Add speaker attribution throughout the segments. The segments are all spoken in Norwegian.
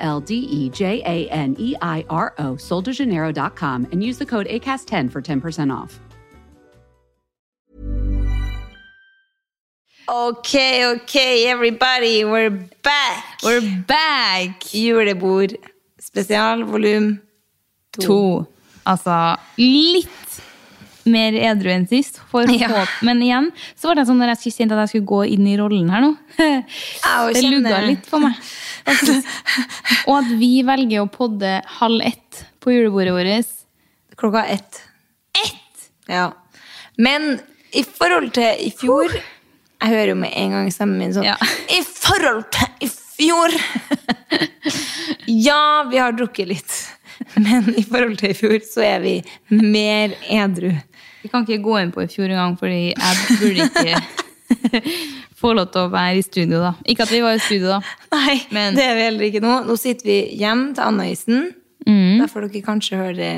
Speaker 1: L D E J A N E I R O, soldejaneiro.com, and use the code ACAST10 for 10% off.
Speaker 2: Okay, okay, everybody, we're back.
Speaker 3: We're back!
Speaker 2: Julebord spesial volum
Speaker 3: To. Altså, litt mer edru enn sist. For håp. Men igjen, så var det sånn når jeg skulle kjente at jeg skulle gå inn i rollen her nå.
Speaker 2: jeg
Speaker 3: det
Speaker 2: kjenner-
Speaker 3: lugga litt for meg. faktisk. Og at vi velger å podde halv ett på julebordet vårt.
Speaker 2: klokka ett. Ja. Men i forhold til i fjor Jeg hører jo med en gang stemmen min sånn
Speaker 3: Ja.
Speaker 2: I forhold til i fjor! ja, vi har drukket litt. Men i forhold til i fjor så er vi mer edru.
Speaker 3: Vi kan ikke gå inn på i fjor engang, fordi jeg burde ikke få lov til å være i studio, da. Ikke at vi var i studio, da.
Speaker 2: Nei,
Speaker 3: Men-
Speaker 2: det er vi heller ikke nå. Nå sitter vi hjemme til Anna-isen. Der får dere kanskje høre det.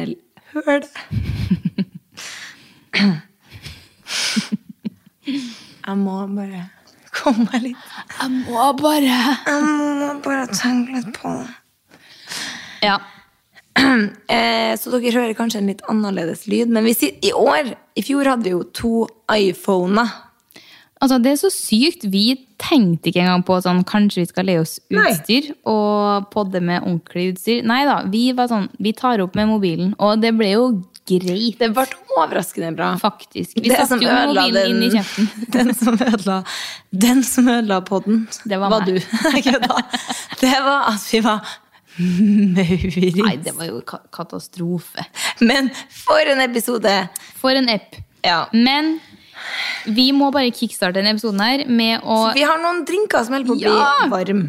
Speaker 2: Hør det. Jeg må bare komme meg litt
Speaker 3: Jeg må bare
Speaker 2: Jeg må bare tenke litt på det.
Speaker 3: Ja.
Speaker 2: Eh, så dere hører kanskje en litt annerledes lyd, men vi sitter i år. I fjor hadde vi jo to iPhoner.
Speaker 3: Altså, det er så sykt. Vi tenkte ikke engang på sånn, kanskje vi skal le oss utstyr og podde med ordentlig utstyr. Nei da, vi var sånn, vi tar opp med mobilen, og det ble jo greit,
Speaker 2: Det ble overraskende bra.
Speaker 3: faktisk. Vi
Speaker 2: Det
Speaker 3: satte
Speaker 2: som
Speaker 3: jo
Speaker 2: ødela
Speaker 3: mobilen
Speaker 2: den-
Speaker 3: inn i kjeften.
Speaker 2: Den som ødela, den som ødela podden,
Speaker 3: Det var meg.
Speaker 2: du. Jeg kødda. det var at vi var
Speaker 3: Nei,
Speaker 2: maurits.
Speaker 3: det var jo ka katastrofe.
Speaker 2: Men for en episode!
Speaker 3: For en app.
Speaker 2: Ja.
Speaker 3: Men vi må bare kickstarte denne episoden her med å
Speaker 2: Vi har noen drinker som holder på å bli
Speaker 3: Ja!
Speaker 2: varm.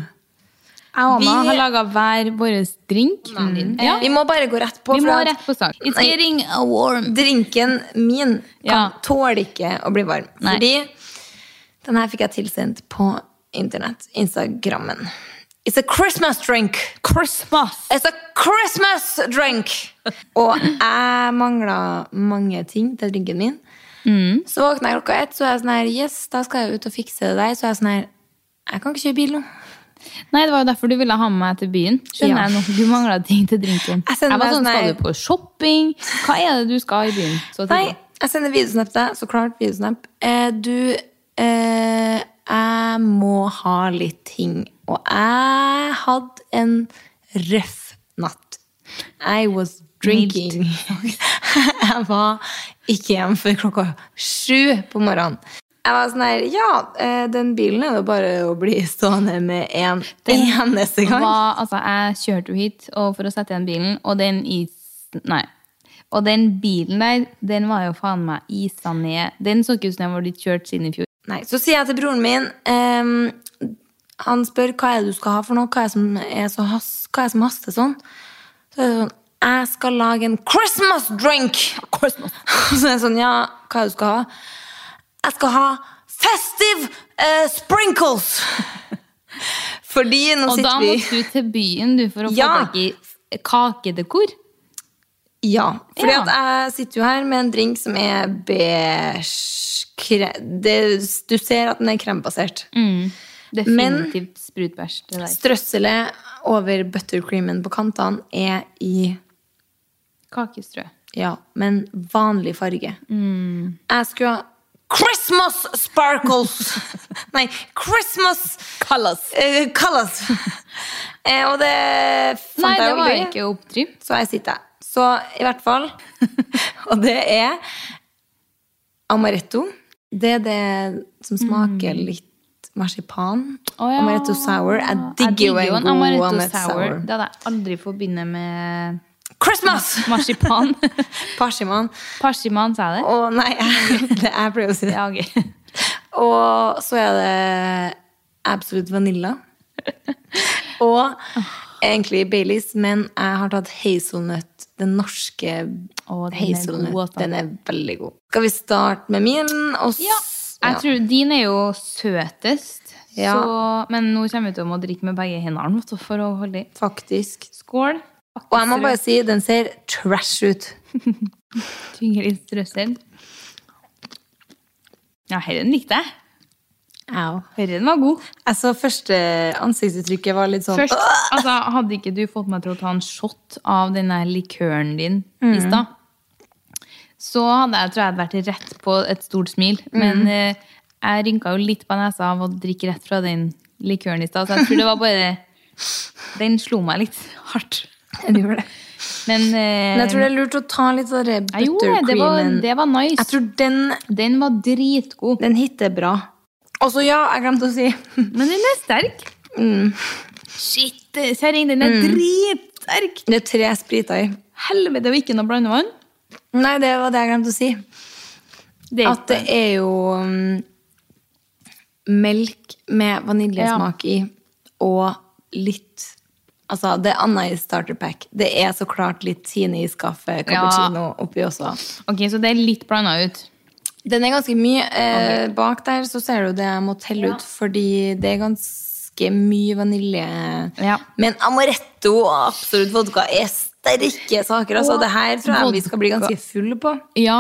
Speaker 3: Jeg og Anna
Speaker 2: vi-
Speaker 3: har laga hver vår drink. Ja,
Speaker 2: Vi må bare gå rett på.
Speaker 3: vi
Speaker 2: for
Speaker 3: må
Speaker 2: at
Speaker 3: rett på sak. It's
Speaker 2: Nei.
Speaker 3: getting warm.
Speaker 2: Drinken min
Speaker 3: Ja.
Speaker 2: kan tåler ikke å bli varm.
Speaker 3: Nei.
Speaker 2: Fordi den her fikk jeg tilsendt på internett. Instagrammen. It's a Christmas drink!
Speaker 3: Christmas!
Speaker 2: It's a Christmas drink! Og jeg mangla mange ting til drinken min.
Speaker 3: Mm.
Speaker 2: Så våkna jeg klokka ett, så er jeg sånn her Yes, da skal jeg ut og fikse det der. Så er jeg sånn her Jeg kan ikke kjøre bil nå.
Speaker 3: Nei, det var jo derfor du ville ha med meg til byen. Skjønner
Speaker 2: Ja.
Speaker 3: jeg nå, Du mangla ting til drinken.
Speaker 2: Jeg
Speaker 3: Jeg,
Speaker 2: sender
Speaker 3: var
Speaker 2: deg
Speaker 3: sånn,
Speaker 2: sånn her-
Speaker 3: Skal du på shopping? Hva er det du skal i byen? Så
Speaker 2: Nei,
Speaker 3: tidlig.
Speaker 2: jeg sender videosnap til deg. Så klart videosnap. Eh, du eh, Jeg må ha litt ting. Og jeg hadde en røff natt. I was drinking. jeg var ikke hjemme før klokka sju på morgenen. Jeg var sånn her Ja, eh, den bilen er det bare å bli stående med en eneste gang.
Speaker 3: Hva- altså, jeg kjørte jo hit og for å sette igjen bilen, og den is... Nei. Og den bilen der, den var jo faen meg isa ned. Den så ikke ut som den var blitt kjørt siden i fjor.
Speaker 2: Nei, Så sier jeg til broren min ehm, Han spør hva er det du skal ha for noe. Hva er det som, er så has, hva er det som haster sånn? Så er det sånn Jeg skal lage en Christmas drink! Så er det sånn Ja, hva er det du skal ha? Jeg skal ha festive eh, sprinkles! Fordi nå
Speaker 3: Og da
Speaker 2: sitter vi
Speaker 3: måtte du til byen du, for å
Speaker 2: Ja.
Speaker 3: få tak i kakedekor.
Speaker 2: Ja, fordi
Speaker 3: Ja.
Speaker 2: at jeg sitter jo her med en drink som er beige kre, det, Du ser at den er krembasert.
Speaker 3: Definitivt sprutbæsj. Det der.
Speaker 2: Strøsselet over buttercreamen på kantene er i
Speaker 3: Kakestrø. Mm.
Speaker 2: ja, men vanlig farge. Jeg skulle ha Christmas sparkles! Nei, Christmas
Speaker 3: Colors.
Speaker 2: Eh, colors. Eh, og det fant
Speaker 3: Nei, det
Speaker 2: jeg jo
Speaker 3: var
Speaker 2: aldri.
Speaker 3: ikke oppdriv.
Speaker 2: Så her sitter jeg. Så i hvert fall Og det er amaretto. Det er det som smaker litt marsipan.
Speaker 3: Mm. Å ja.
Speaker 2: Amaretto sour. Jeg digger jo en, god
Speaker 3: amaretto
Speaker 2: amaretto,
Speaker 3: sour.
Speaker 2: sour.
Speaker 3: Det hadde jeg aldri forbundet med
Speaker 2: Christmas!
Speaker 3: marsipan.
Speaker 2: Parsiman.
Speaker 3: Parsiman, sa jeg det?
Speaker 2: Og nei, jeg, det jeg pleier å si det.
Speaker 3: Ja, ok.
Speaker 2: Og så er det absolutt vanilla. Og egentlig Baileys, men jeg har tatt hazelnøtt. Den norske
Speaker 3: Å, den er god,
Speaker 2: hazelnøtt.
Speaker 3: altså.
Speaker 2: Den er veldig god. Skal vi starte med min? Og s-
Speaker 3: Ja. Jeg tror din er jo søtest.
Speaker 2: Ja.
Speaker 3: Så, men nå kommer vi til å må drikke med begge hendene vet du, for å holde i.
Speaker 2: Faktisk.
Speaker 3: Skål.
Speaker 2: Og jeg må bare si, den ser trash ut.
Speaker 3: Tyngre strøssel. Ja, herren likte jeg.
Speaker 2: Au.
Speaker 3: Herren var god.
Speaker 2: Altså, første ansiktsuttrykket var litt sånn
Speaker 3: Først, altså, hadde ikke du fått meg til å ta en shot av den der likøren din
Speaker 2: Mm.
Speaker 3: i stad, så hadde jeg tror jeg hadde vært rett på et stort smil. Men
Speaker 2: Mm.
Speaker 3: eh, jeg rynka jo litt på nesa av å drikke rett fra den likøren i stad, så jeg tror det var bare Den slo meg litt hardt. Men eh,
Speaker 2: Men jeg tror det er lurt å ta litt sånn der
Speaker 3: ja, jo, det var,
Speaker 2: buttercreamen.
Speaker 3: det var nice.
Speaker 2: Jeg tror den,
Speaker 3: Den var dritgod.
Speaker 2: den hitter bra. Og så, ja, jeg glemte å si
Speaker 3: Men den er sterk.
Speaker 2: Mm.
Speaker 3: Shit, kjerring, den er dritsterk!
Speaker 2: Det er tre spriter i.
Speaker 3: Helvete, det var ikke noe blandevann.
Speaker 2: Nei, det var det jeg glemte å si.
Speaker 3: Det er
Speaker 2: At det er jo mm, melk med vaniljesmak i, og litt Altså, det er annet i starter pack. Det er så klart litt Tine i skaffet, cappuccino oppi også.
Speaker 3: Ok, så det er litt blanda ut.
Speaker 2: Den er ganske mye. Eh, bak der så ser du det jeg må telle ut, fordi det er ganske mye vanilje.
Speaker 3: Ja.
Speaker 2: Men amaretto og absolutt vodka er sterke saker. Altså,
Speaker 3: Og
Speaker 2: det her tror jeg vi skal bli
Speaker 3: vodka.
Speaker 2: ganske fulle på.
Speaker 3: Ja.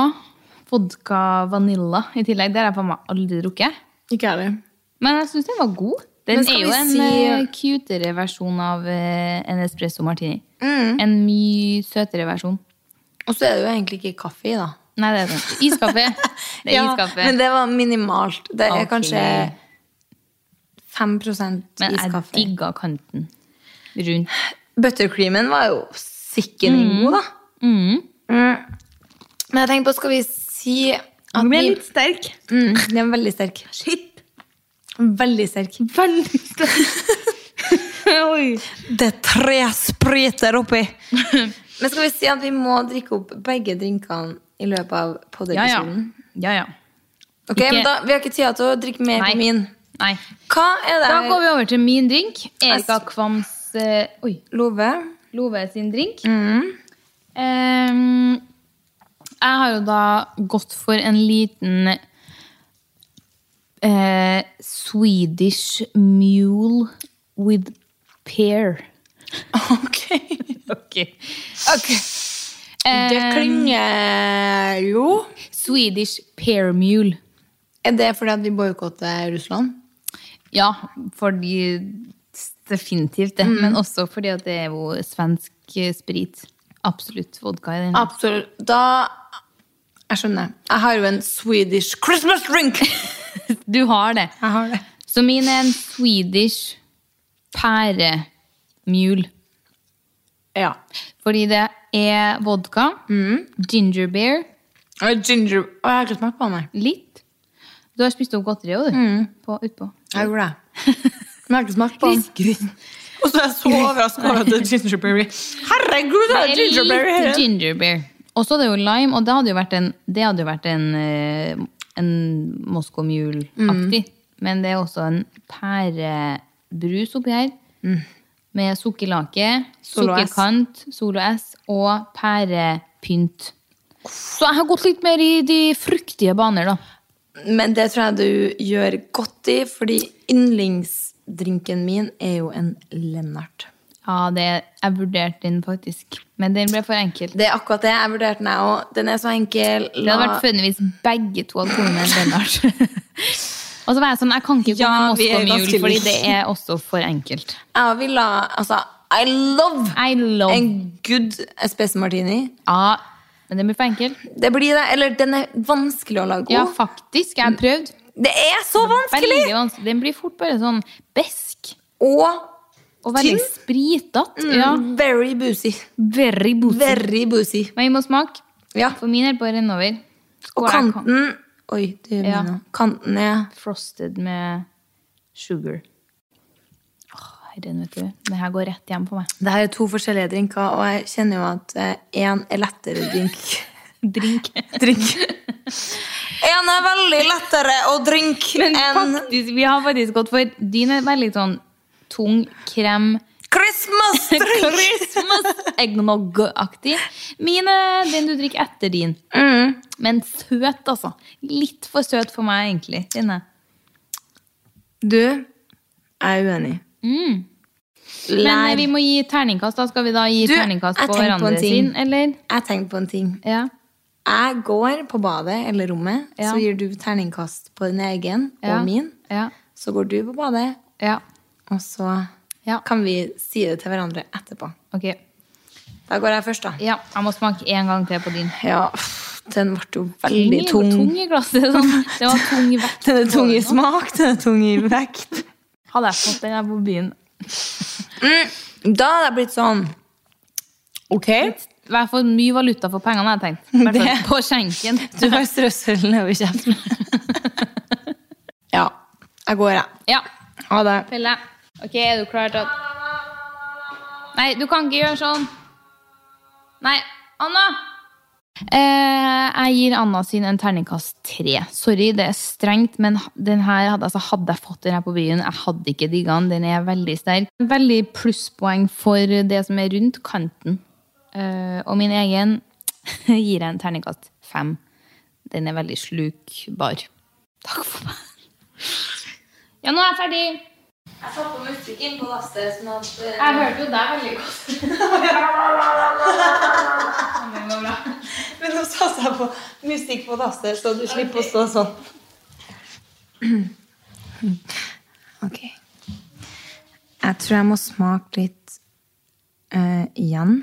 Speaker 3: Vodka vanilla i tillegg. Det har jeg faen meg aldri drukket.
Speaker 2: Ikke jeg heller.
Speaker 3: Men jeg syns den var god. Den
Speaker 2: Men skal
Speaker 3: er jo
Speaker 2: vi
Speaker 3: en
Speaker 2: si-
Speaker 3: eh, cutere versjon av eh, en espresso martini.
Speaker 2: Mm.
Speaker 3: En mye søtere versjon.
Speaker 2: Og så er det jo egentlig ikke kaffe i, da.
Speaker 3: Nei, det er sant. Iskaffe. Det er
Speaker 2: ja,
Speaker 3: iskaffe.
Speaker 2: Men det var minimalt. Det er
Speaker 3: Ok.
Speaker 2: kanskje 5
Speaker 3: Men jeg
Speaker 2: iskaffe.
Speaker 3: digga kanten rundt.
Speaker 2: Buttercreamen var jo sikkende god, da. Mm. Men jeg tenker på, skal vi si at
Speaker 3: Den
Speaker 2: vi,
Speaker 3: ble litt sterk.
Speaker 2: mm, Den er veldig sterk. Shit! Veldig sterk.
Speaker 3: Veldig sterk. Oi.
Speaker 2: Det er tre spriter oppi! Men skal vi si at vi må drikke opp begge drinkene i løpet av
Speaker 3: Ja, ja.
Speaker 2: podiepisoden?
Speaker 3: ja, ja.
Speaker 2: Ok, men
Speaker 3: Ikke-
Speaker 2: da, Vi har ikke tid til å drikke mer
Speaker 3: Nei.
Speaker 2: på min.
Speaker 3: Nei.
Speaker 2: Hva er det
Speaker 3: Da
Speaker 2: her?
Speaker 3: går vi over til min drink. Erika Kvams eh, Oi.
Speaker 2: Love? Mm.
Speaker 3: Love sin drink. Ehm, jeg har jo da gått for en liten eh, Swedish mule with pear.
Speaker 2: Ok.
Speaker 3: Ok. Ehm,
Speaker 2: Det klinger jo.
Speaker 3: Swedish pear mule.
Speaker 2: Er det fordi at vi boikotter Russland?
Speaker 3: Ja, fordi definitivt det. Men også fordi at det er jo svensk eh, sprit. Absolutt vodka i den.
Speaker 2: Absolutt. Da Jeg skjønner. Jeg har jo en Swedish Christmas drink!
Speaker 3: Du har det.
Speaker 2: Jeg har det.
Speaker 3: Så min er en Swedish pæremjul.
Speaker 2: Ja.
Speaker 3: Fordi det er vodka,
Speaker 2: Mm.
Speaker 3: ginger beer,
Speaker 2: Og ginger Å, jeg har ikke smakt på den. jeg.
Speaker 3: litt. Du har spist opp godteri også, du. På, utpå.
Speaker 2: Jeg gjorde det. Men Mm. jeg har ikke smakt på den. Og så er jeg så overraska over at det er gingerberry. Herregud, det er
Speaker 3: Det er
Speaker 2: gingerberry her!
Speaker 3: litt ginger beer. Og så er det jo lime, og det hadde jo vært en, det hadde jo vært en, eh, en Moscow Mule-aktig. Men det er også en pærebrus oppi her. Med sukkerlake,
Speaker 2: Solo S.
Speaker 3: sukkerkant, Solo S og pærepynt. Så jeg har gått litt mer i de fruktige baner, da.
Speaker 2: Men det tror jeg du gjør godt i, fordi yndlingsdrinken min er jo en Lennart.
Speaker 3: Ja, det, jeg vurderte den faktisk. Men den ble for enkel.
Speaker 2: Det er akkurat det. Jeg vurderte den, jeg òg. Den er så enkel.
Speaker 3: Det hadde
Speaker 2: La-
Speaker 3: vært funnet hvis begge to hadde kommet med en Lennart. Og så var jeg sånn, jeg kan ikke
Speaker 2: Ja,
Speaker 3: komme
Speaker 2: vi er
Speaker 3: med Moscow
Speaker 2: ganske
Speaker 3: Mule, fordi
Speaker 2: like.
Speaker 3: det er også for enkelt.
Speaker 2: Jeg vil ha Altså, I love
Speaker 3: I love
Speaker 2: en good espresso martini.
Speaker 3: ja, Men den blir for enkel.
Speaker 2: Det blir det. Eller den er vanskelig å lage god.
Speaker 3: Ja, faktisk. Jeg har prøvd.
Speaker 2: det er så vanskelig!
Speaker 3: Veldig vanskelig. Den blir fort bare sånn besk.
Speaker 2: Og
Speaker 3: Og veldig
Speaker 2: tynn.
Speaker 3: spritete. Ja.
Speaker 2: Very boozy.
Speaker 3: Very booty.
Speaker 2: Very boozy.
Speaker 3: Men vi må smake.
Speaker 2: Ja.
Speaker 3: For min er bare innover.
Speaker 2: Og
Speaker 3: Skål, jeg kan-
Speaker 2: kanten Oi, det gjør
Speaker 3: Ja.
Speaker 2: meg nå. Kanten er
Speaker 3: Frosted med sugar. Åh, herren, vet du. Det her går rett hjem på meg.
Speaker 2: Det her er to forskjellige drinker, og jeg kjenner jo at én er lettere drink.
Speaker 3: Drink.
Speaker 2: drink. Én er veldig lettere å drinke
Speaker 3: Men
Speaker 2: enn
Speaker 3: faktisk, vi har faktisk gått for Din er veldig sånn tung krem.
Speaker 2: Christmas-drink!
Speaker 3: Christmas eggnog-aktig. Min er den du drikker etter din.
Speaker 2: Mm.
Speaker 3: Men søt, altså. Litt for søt for meg, egentlig. Din er.
Speaker 2: Du, jeg er uenig.
Speaker 3: Men eh,
Speaker 2: Lær.
Speaker 3: vi må gi terningkast. da Skal vi da gi
Speaker 2: Du,
Speaker 3: terningkast
Speaker 2: jeg
Speaker 3: på
Speaker 2: tenkte på en
Speaker 3: hverandre
Speaker 2: ting.
Speaker 3: sin, eller?
Speaker 2: Jeg tenkte på en ting.
Speaker 3: Ja.
Speaker 2: Jeg går på badet eller rommet,
Speaker 3: Ja.
Speaker 2: så gir du terningkast på din egen
Speaker 3: Ja.
Speaker 2: og min.
Speaker 3: Ja.
Speaker 2: Så går du på badet,
Speaker 3: ja.
Speaker 2: og så
Speaker 3: Ja.
Speaker 2: kan vi si det til hverandre etterpå.
Speaker 3: Ok.
Speaker 2: Da går jeg først, da.
Speaker 3: Ja, jeg må smake en gang til på din.
Speaker 2: Ja, pff, den ble jo veldig
Speaker 3: Den er
Speaker 2: tung.
Speaker 3: tung i glasset. Sånn. Det var tung vekt.
Speaker 2: Den er tung i smak, den er tung i vekt.
Speaker 3: sånn. Hadde jeg fått den her på byen
Speaker 2: Da hadde jeg blitt sånn Ok.
Speaker 3: I hvert fall mye valuta for pengene, har jeg tenkt. I hvert fall
Speaker 2: Det-
Speaker 3: på skjenken.
Speaker 2: Du har strøsselen over kjeften. ja. Jeg går, jeg.
Speaker 3: Ja,
Speaker 2: Ha det.
Speaker 3: Pelle. Ok, er du klar til å Nei, du kan ikke gjøre sånn. Nei, Anna! Eh, jeg gir Anna sin en terningkast tre. Sorry, det er strengt, men den her hadde, altså, hadde jeg fått den her på byen, jeg hadde ikke digga den. Den er veldig sterk. Veldig plusspoeng for det som er rundt kanten. Eh, og min egen gir jeg en terningkast fem. Den er veldig slukbar. Takk for meg. Ja, nå er jeg ferdig. Jeg satt på musikken på lasset. Sånn at, jeg hørte jo deg veldig godt.
Speaker 2: Men nå satser jeg på musikk på dasset, så du slipper å stå sånn. Ok. Jeg tror jeg må smake litt eh, igjen.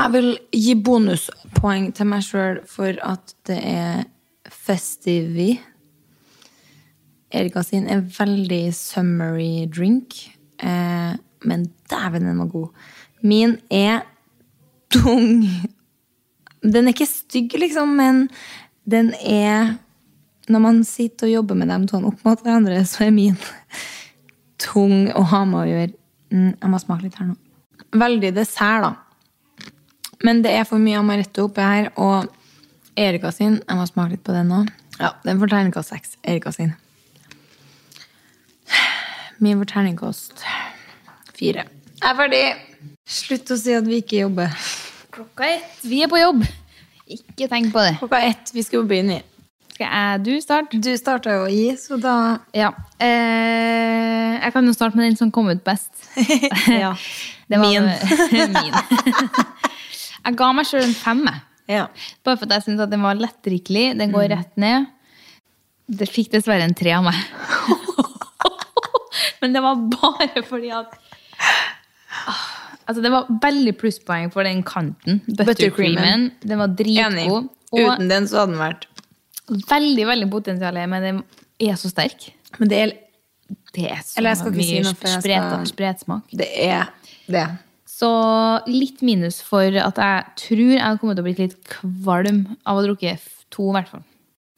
Speaker 2: Jeg vil gi bonuspoeng til meg sjøl for at det er festivi. Erika sin er veldig summery drink, eh, men dæven, den var god. Min er tung den er ikke stygg, liksom, men den er Når man sitter og jobber med dem sånn opp mot hverandre, så er min tung å ha med å gjøre. Mm, Jeg må smake litt her nå. Veldig dessert, da. Men det er for mye amaretto oppi her, og Erika sin Jeg må smake litt på den nå. Ja, den får terningkast seks. Erika sin. Min får terningkast fire. Jeg er ferdig! Slutt å si at vi ikke jobber.
Speaker 3: Klokka ett. Vi er på jobb. Ikke tenk på det.
Speaker 2: Klokka ett. Vi skal jo begynne.
Speaker 3: Skal jeg, du starte?
Speaker 2: Du starta jo å gi, så da
Speaker 3: Ja. Eh, jeg kan jo starte med den som kom ut best.
Speaker 2: Ja.
Speaker 3: Det var-
Speaker 2: Min.
Speaker 3: min. jeg ga meg sjøl en femme.
Speaker 2: ja.
Speaker 3: Bare for at jeg syntes at den var lettdrikkelig. Den
Speaker 2: Mm.
Speaker 3: går rett ned. Det fikk dessverre en tre av meg. Men det var bare fordi at Ah, Altså, det var veldig plusspoeng for den kanten. Buttercreamen.
Speaker 2: Buttercreamen.
Speaker 3: Den var
Speaker 2: Enig.
Speaker 3: dritgod. Og
Speaker 2: Uten den så hadde den vært
Speaker 3: veldig, veldig potensial, i, men den er så sterk.
Speaker 2: Men det er
Speaker 3: Det er så
Speaker 2: Eller jeg skal ikke
Speaker 3: mye
Speaker 2: si noe, for jeg skal-
Speaker 3: spret, spretsmak.
Speaker 2: det. Er det.
Speaker 3: Så litt minus for at jeg tror jeg hadde kommet til å bli litt kvalm av å drukke f- to, i hvert fall.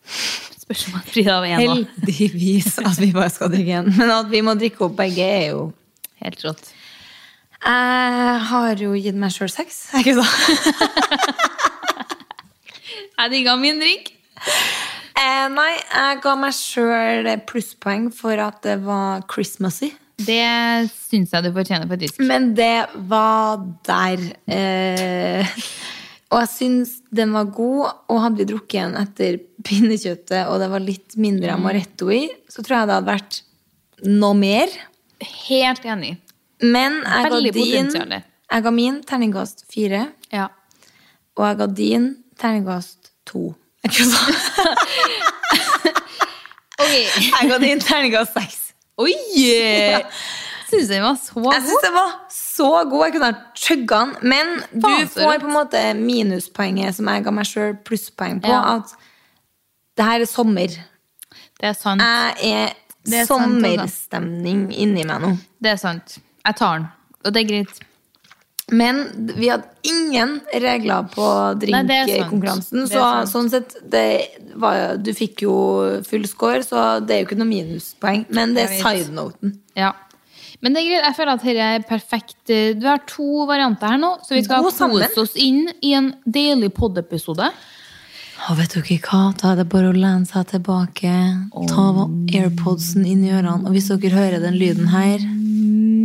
Speaker 3: Spørs om jeg blir av én nå.
Speaker 2: Heldigvis at vi bare skal drikke én. Men at vi må drikke opp begge, er jo
Speaker 3: Helt rått.
Speaker 2: Jeg har jo gitt meg sjøl sex, er ikke sant?
Speaker 3: Jeg digga min drink.
Speaker 2: Eh, nei, jeg ga meg sjøl plusspoeng for at det var Christmassy.
Speaker 3: Det syns jeg du fortjener, faktisk.
Speaker 2: Men det var der. Eh, og jeg syns den var god. Og hadde vi drukket den etter pinnekjøttet, og det var litt
Speaker 3: Mm.
Speaker 2: mindre amaretto i, så tror jeg det hadde vært noe mer.
Speaker 3: Helt enig.
Speaker 2: Men jeg ga,
Speaker 3: Veldig
Speaker 2: din,
Speaker 3: potensiale.
Speaker 2: jeg ga min terningkast fire,
Speaker 3: Ja.
Speaker 2: og jeg ga din terningkast to. Ikke sant?
Speaker 3: Ok.
Speaker 2: Jeg ga din terningkast seks.
Speaker 3: Oi! Syns den var så
Speaker 2: Jeg
Speaker 3: god.
Speaker 2: syns det var så god. Jeg kunne ha chugga den. Men du
Speaker 3: Faen, så
Speaker 2: får
Speaker 3: rått.
Speaker 2: på en måte minuspoenget som jeg ga meg sjøl plusspoeng på.
Speaker 3: Ja.
Speaker 2: At det her er sommer.
Speaker 3: Det er sant.
Speaker 2: Jeg er,
Speaker 3: Det er sant, altså.
Speaker 2: sommerstemning inni meg nå.
Speaker 3: Det er sant. Jeg tar den. Og det er greit.
Speaker 2: Men vi hadde ingen regler på
Speaker 3: Nei, det er sant.
Speaker 2: drinkkonkurransen.
Speaker 3: Det er
Speaker 2: Så
Speaker 3: sant.
Speaker 2: sånn sett, det var, jo- du fikk jo full score, så det er jo ikke noe minuspoeng. Men det er
Speaker 3: Jeg vet.
Speaker 2: sidenoten.
Speaker 3: Ja. Men det er greit. Jeg føler at dette er perfekt. Du har to varianter her nå, så vi skal
Speaker 2: God sammen.
Speaker 3: kose oss inn i en deilig poddepisode.
Speaker 2: Og vet dere hva? Da er det bare å lene seg tilbake, ta airpodsen inn i ørene, og hvis dere hører den lyden her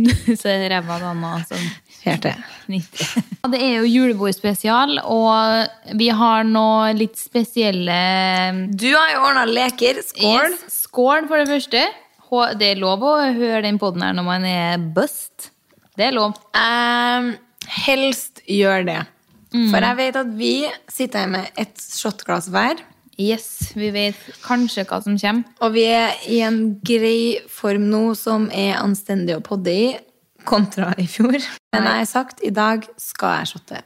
Speaker 3: Så er det ræva altså. dama som
Speaker 2: Hør til.
Speaker 3: knitrer. Ja, Det er jo julebordspesial, og vi har nå litt spesielle
Speaker 2: Du har jo ordna leker. Skål.
Speaker 3: Yes, skål for det første. Hå- Det er lov å høre den podden her når man er bust. Det er lov.
Speaker 2: Ehm, helst gjør det. For jeg vet at vi sitter her med et shotglass hver.
Speaker 3: Yes, vi vet kanskje hva som kommer.
Speaker 2: Og vi er i en grei form nå som er anstendig å podde i, kontra i fjor. Men jeg har sagt i dag skal jeg shotte.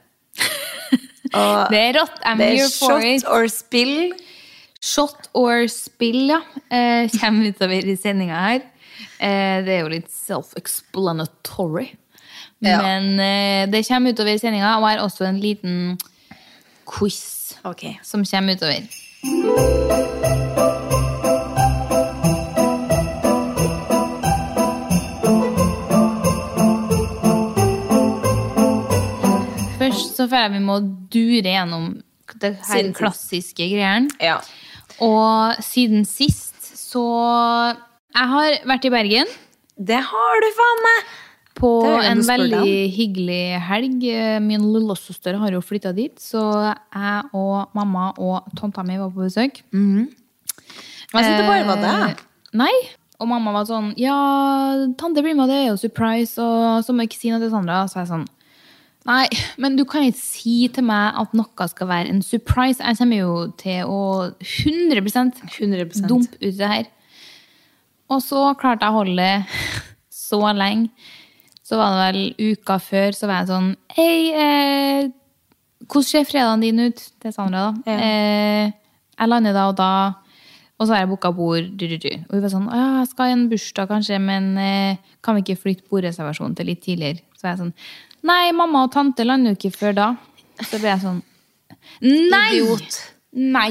Speaker 2: Og
Speaker 3: Det er rått. I'm
Speaker 2: det er
Speaker 3: here for
Speaker 2: shot
Speaker 3: it.
Speaker 2: or spill.
Speaker 3: Shot or spill, ja. Eh, kommer utover i sendinga her. Eh, det er jo litt self-explanatory.
Speaker 2: Ja.
Speaker 3: Men eh, det kommer utover i sendinga, og jeg har også en liten quiz
Speaker 2: Ok.
Speaker 3: som kommer utover. Først så føler jeg vi må dure gjennom det her
Speaker 2: Siden sist.
Speaker 3: klassiske greien.
Speaker 2: Ja.
Speaker 3: Og siden sist så Jeg har vært i Bergen
Speaker 2: Det har du faen meg!
Speaker 3: på
Speaker 2: Det er jo
Speaker 3: en
Speaker 2: noe å spørre deg om.
Speaker 3: veldig hyggelig helg. Min lillesøster har jo flytta dit, så jeg og mamma og tanta mi var på besøk.
Speaker 2: Jeg synes det bare var det.
Speaker 3: Eh, Nei. Og mamma var sånn Ja, tante blir med, det er jo surprise. Og så må jeg ikke si noe til Sandra. Så jeg sånn Nei, men du kan ikke si til meg at noe skal være en surprise. Jeg kommer jo til å 100
Speaker 2: 100%.
Speaker 3: dumpe ut det her. Og så klarte jeg å holde det så lenge. Så var det vel uka før, så var jeg sånn Hei, eh, hvordan ser fredagen din ut? Til Sandra, da.
Speaker 2: Ja.
Speaker 3: Eh, jeg lander da og da, og så har jeg booka bord. Du, du, du. Og hun var sånn Å ja, jeg skal i en bursdag, kanskje, men eh, kan vi ikke flytte bordreservasjonen til litt tidligere? Så var jeg sånn Nei, mamma og tante lander jo ikke før da. Så ble jeg sånn Nei!
Speaker 2: Idiot.
Speaker 3: Nei!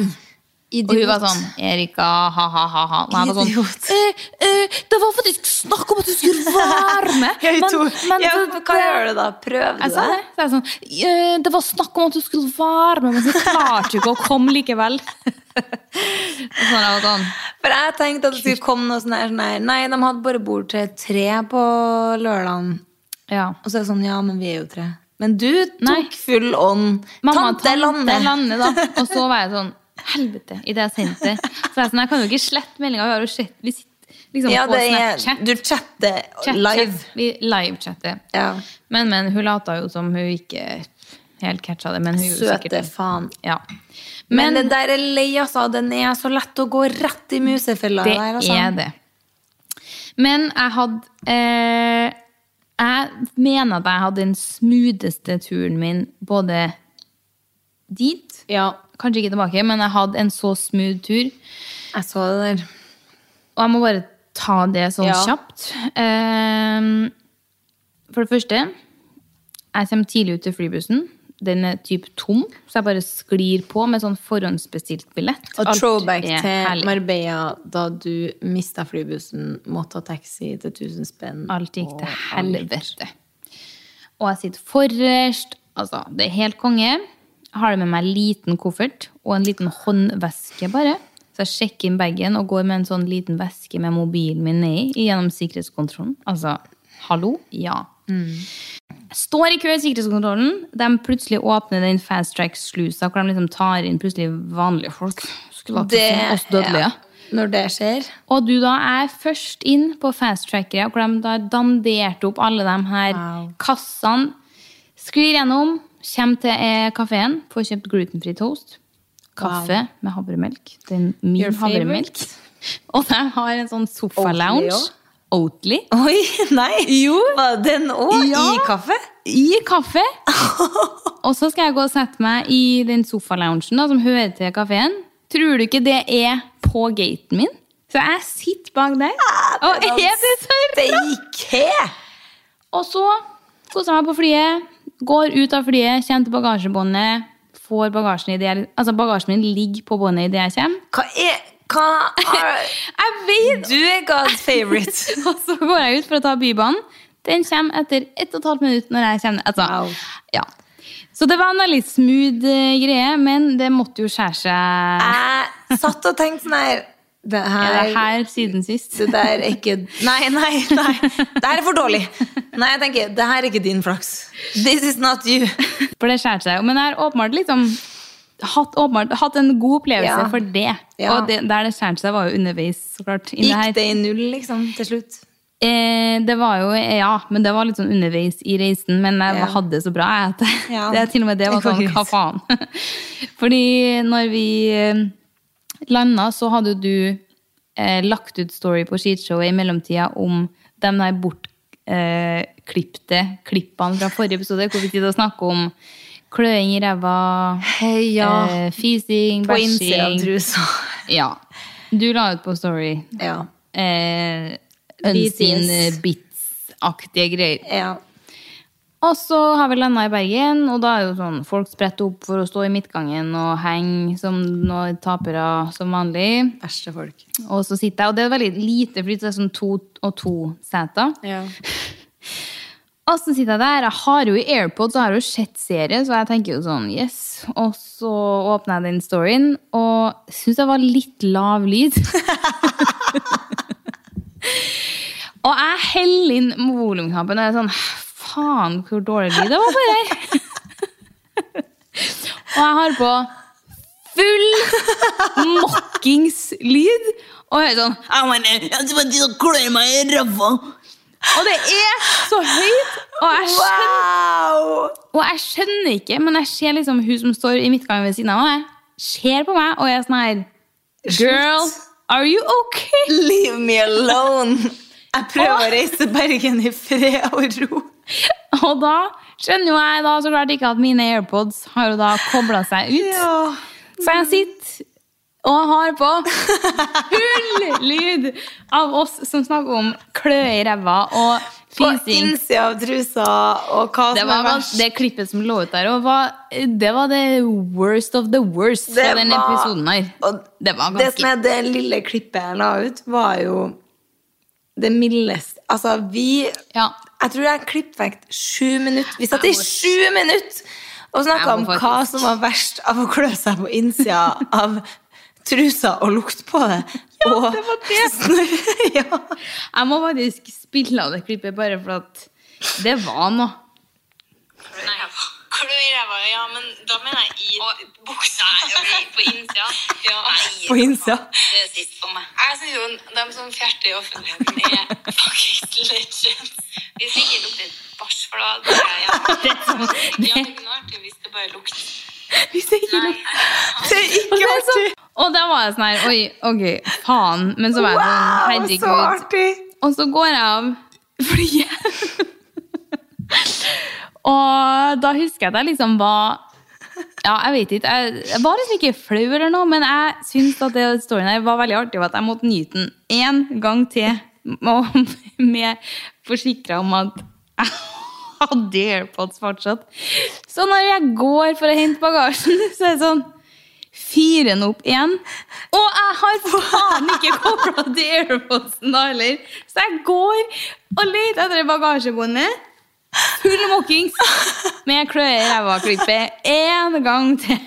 Speaker 3: Og hun var sånn Erika, ha-ha-ha. Og jeg var sånn
Speaker 2: Idiot.
Speaker 3: eh, eh, Det var faktisk snakk om at du skulle være med!
Speaker 2: Jeg
Speaker 3: men-
Speaker 2: tror-
Speaker 3: men
Speaker 2: ja,
Speaker 3: det-
Speaker 2: men hva gjør du da? Prøv du
Speaker 3: jeg sa det. Så jeg sånn, «Eh, det var snakk om at du skulle være med, men så klarte du ikke å komme likevel. Og sånn, jeg var sånn,
Speaker 2: For jeg tenkte at det skulle komme noe sånn her, sånn her Nei, de hadde bare bord til tre på lørdagen.
Speaker 3: ja.
Speaker 2: Og så er det sånn, ja, men vi er jo tre. Men du tok
Speaker 3: Nei.
Speaker 2: full ånd.
Speaker 3: Mamma,
Speaker 2: tante, Lanne.
Speaker 3: Lanne, da. Og så var jeg sånn, helvete, i det jeg sendte. Så jeg, sånn, jeg kan jo ikke slette meldinga. Vi har jo sett, vi sitter liksom
Speaker 2: Ja,
Speaker 3: på
Speaker 2: det er,
Speaker 3: Snapchat.
Speaker 2: du chatter
Speaker 3: Chat,
Speaker 2: live.
Speaker 3: Chat, vi livechatter.
Speaker 2: Ja.
Speaker 3: Men, men hun lata jo som hun ikke helt catcha det. Men hun gjorde sikkert
Speaker 2: Søte
Speaker 3: det.
Speaker 2: faen.
Speaker 3: Ja.
Speaker 2: Men, den der er lei, altså. Den er så lett å gå rett i musefella.
Speaker 3: Det
Speaker 2: der, altså.
Speaker 3: er det. Men jeg hadde eh, Jeg mener at jeg hadde den smootheste turen min både dit
Speaker 2: Ja,
Speaker 3: Kanskje ikke tilbake, men jeg hadde en så smooth tur.
Speaker 2: jeg så det der.
Speaker 3: Og jeg må bare ta det sånn
Speaker 2: Ja.
Speaker 3: kjapt. Eh, for det første, jeg kommer tidlig ut til flybussen. Den er typ tom, så jeg bare sklir på med sånn forhåndsbestilt billett.
Speaker 2: Og
Speaker 3: Alt
Speaker 2: throwback
Speaker 3: er
Speaker 2: til
Speaker 3: herlig.
Speaker 2: Marbella da du mista flybussen, måtte ta taxi til 1000 spenn.
Speaker 3: Mm. Alt gikk til
Speaker 2: og
Speaker 3: helvete. Og jeg sitter forrest. Altså, det er helt konge. Jeg har det med meg en liten koffert og en liten håndveske bare. Så jeg sjekker inn bagen og går med en sånn liten veske med mobilen min nedi gjennom sikkerhetskontrollen. Altså, hallo? Ja. Jeg står i kø i sikkerhetskontrollen. De plutselig åpner den fast track-slusa hvor de liksom tar inn plutselig vanlige folk. Skulle hatt det som oss dødelige.
Speaker 2: ja. Når det skjer
Speaker 3: Og du da er først inn på fasttrackere, hvor de da har dandert opp alle de her
Speaker 2: Wow.
Speaker 3: kassene. Sklir gjennom, kommer til eh, kafeen, får kjøpt glutenfri toast. Kaffe med havremelk. Den min
Speaker 2: Your favorite.
Speaker 3: havremelk. Og de har en sånn
Speaker 2: Oatly
Speaker 3: sofa-lounge.
Speaker 2: også?
Speaker 3: Oatly
Speaker 2: Oi, nei!
Speaker 3: Jo.
Speaker 2: Var den òg
Speaker 3: Ja.
Speaker 2: i kaffe?
Speaker 3: i kaffe. Og så skal jeg gå og sette meg i den sofaloungen da, som hører til kafeen. Tror du ikke det er på gaten min? Så jeg sitter bak der. Og er Ah, det så rart?
Speaker 2: Steike!
Speaker 3: Og så koser jeg meg på flyet. Går ut av flyet, kommer til bagasjebåndet. Får bagasjen i det jeg, altså bagasjen min ligger på båndet idet jeg kommer.
Speaker 2: Hva er hva er,
Speaker 3: Jeg vet
Speaker 2: Du er God's favorite.
Speaker 3: Og så går jeg ut for å ta bybanen. Den kommer etter ett og et halvt minutt. når jeg kommer. Altså,
Speaker 2: Wow.
Speaker 3: ja. Så det var en veldig smooth eh, greie, men det måtte jo skjære seg
Speaker 2: Jeg satt og tenkte sånn her Det
Speaker 3: Er det
Speaker 2: her
Speaker 3: her siden sist.
Speaker 2: det der er ikke Nei, nei, nei. Det her er for dårlig. Nei, jeg tenker, det her er ikke din flaks. This is not you.
Speaker 3: For det skjærte seg. jo. Men jeg har åpenbart liksom hatt, åpenbart, hatt en god opplevelse
Speaker 2: Ja.
Speaker 3: for det.
Speaker 2: Ja.
Speaker 3: Og det, der det skjærte seg, var jo underveis, så klart. inn i her.
Speaker 2: Gikk det i null, liksom, til slutt?
Speaker 3: Eh, det var jo, ja, men det var litt sånn underveis i reisen, men jeg
Speaker 2: Ja.
Speaker 3: hadde det så bra. Jeg, at
Speaker 2: Ja.
Speaker 3: det, til og med det var
Speaker 2: Det går
Speaker 3: sånn, hva faen? Fordi når vi eh, landa, så hadde du eh, lagt ut story på skishowet i mellomtida om de der bortklipte eh, klippte klippene fra forrige episode, hvor vi sitter og snakker om kløing i ræva, eh, fising,
Speaker 2: På innsida av
Speaker 3: bæsjing.
Speaker 2: trusa.
Speaker 3: Ja. Du la ut på story
Speaker 2: Ja.
Speaker 3: eh, unseen
Speaker 2: BTS.
Speaker 3: bits-aktige greier.
Speaker 2: ja.
Speaker 3: Og så har vi landa i Bergen, og da er jo sånn folk spredt opp for å stå i midtgangen og henge som noen tapere som vanlig.
Speaker 2: Verste folk.
Speaker 3: Og så sitter jeg, og det er veldig lite, fordi det er sånn to og to seter.
Speaker 2: Ja.
Speaker 3: Og så sitter jeg der, jeg har jo i AirPods, og jeg har jo sett serie, så jeg tenker jo sånn, yes. Og så åpner jeg den storyen, og synes det var litt lav lyd. og jeg heller inn volumknappen, og jeg er sånn, faen, hvor dårlig lyd det var på det her. og jeg har på full mokkingslyd, og jeg er sånn,
Speaker 4: I want to, I want to climb my rubble.
Speaker 3: og det er så høyt, og jeg skjønner
Speaker 2: Wow!
Speaker 3: Og jeg skjønner ikke, men jeg ser liksom hun som står i midtgangen ved siden av meg, ser på meg, og jeg er sånn her Girl, are you okay?
Speaker 2: Leave me alone! Jeg prøver å reise til Bergen i fred og ro.
Speaker 3: Og da skjønner jo jeg da så klart ikke at mine AirPods har jo da kobla seg ut. Så jeg sitter og har på full lyd av oss som snakker om klø i ræva og
Speaker 2: På
Speaker 3: fising.
Speaker 2: innsida av trusa og hva
Speaker 3: Det,
Speaker 2: som
Speaker 3: var,
Speaker 2: er verst.
Speaker 3: det klippet som lå ut der, og var, det var det worst of the worst fra
Speaker 2: Det
Speaker 3: den
Speaker 2: var-
Speaker 3: episoden her.
Speaker 2: og
Speaker 3: Det var
Speaker 2: Det som
Speaker 3: ganske
Speaker 2: er det lille klippet jeg la ut, var jo det mildeste Altså, vi
Speaker 3: Ja.
Speaker 2: Jeg tror jeg klippet vekk sju minutter. Vi satt i sju minutter og snakka
Speaker 3: Jeg
Speaker 2: om
Speaker 3: må
Speaker 2: hva
Speaker 3: faktisk-
Speaker 2: som var verst av å klø seg på innsida av trusa og lukte på det. Ja, og det var det. ja.
Speaker 3: Jeg må faktisk spille av det klippet, bare for at det var noe.
Speaker 5: Klø i ræva, ja, men da mener jeg i buksa. på innsida. Ja.
Speaker 2: På innsida.
Speaker 5: Det er sist for meg. Jeg synes jo de som fjerter i offentligheten, er faktisk legends. Hvis ikke lukter bæsj, for da det er jeg hjemme.
Speaker 3: Det som, det,
Speaker 5: Ja, men det er artig hvis det bare lukter.
Speaker 2: Hvis jeg ikke lukter Det er ikke
Speaker 3: det som,
Speaker 2: artig!
Speaker 3: og da var jeg sånn her Oi, ok, faen. Men så var jeg sånn
Speaker 2: Wow, så
Speaker 3: Herregud.
Speaker 2: artig!
Speaker 3: Og så går jeg av flyet. Og da husker jeg at jeg liksom var Ja, jeg vet ikke. Jeg, jeg var liksom ikke flau eller noe, men jeg syns at det storyen her var veldig artig, og at jeg måtte nyte den én gang til. Og med forsikra om at jeg hadde AirPods fortsatt. Så når jeg går for å hente bagasjen, så er det sånn Fire den opp igjen. Og jeg har faen ikke kobla til AirPodsen da heller! Så jeg går og leter etter det bagasjebåndet. Full mokkings med kløe i ræva-klippet én gang til.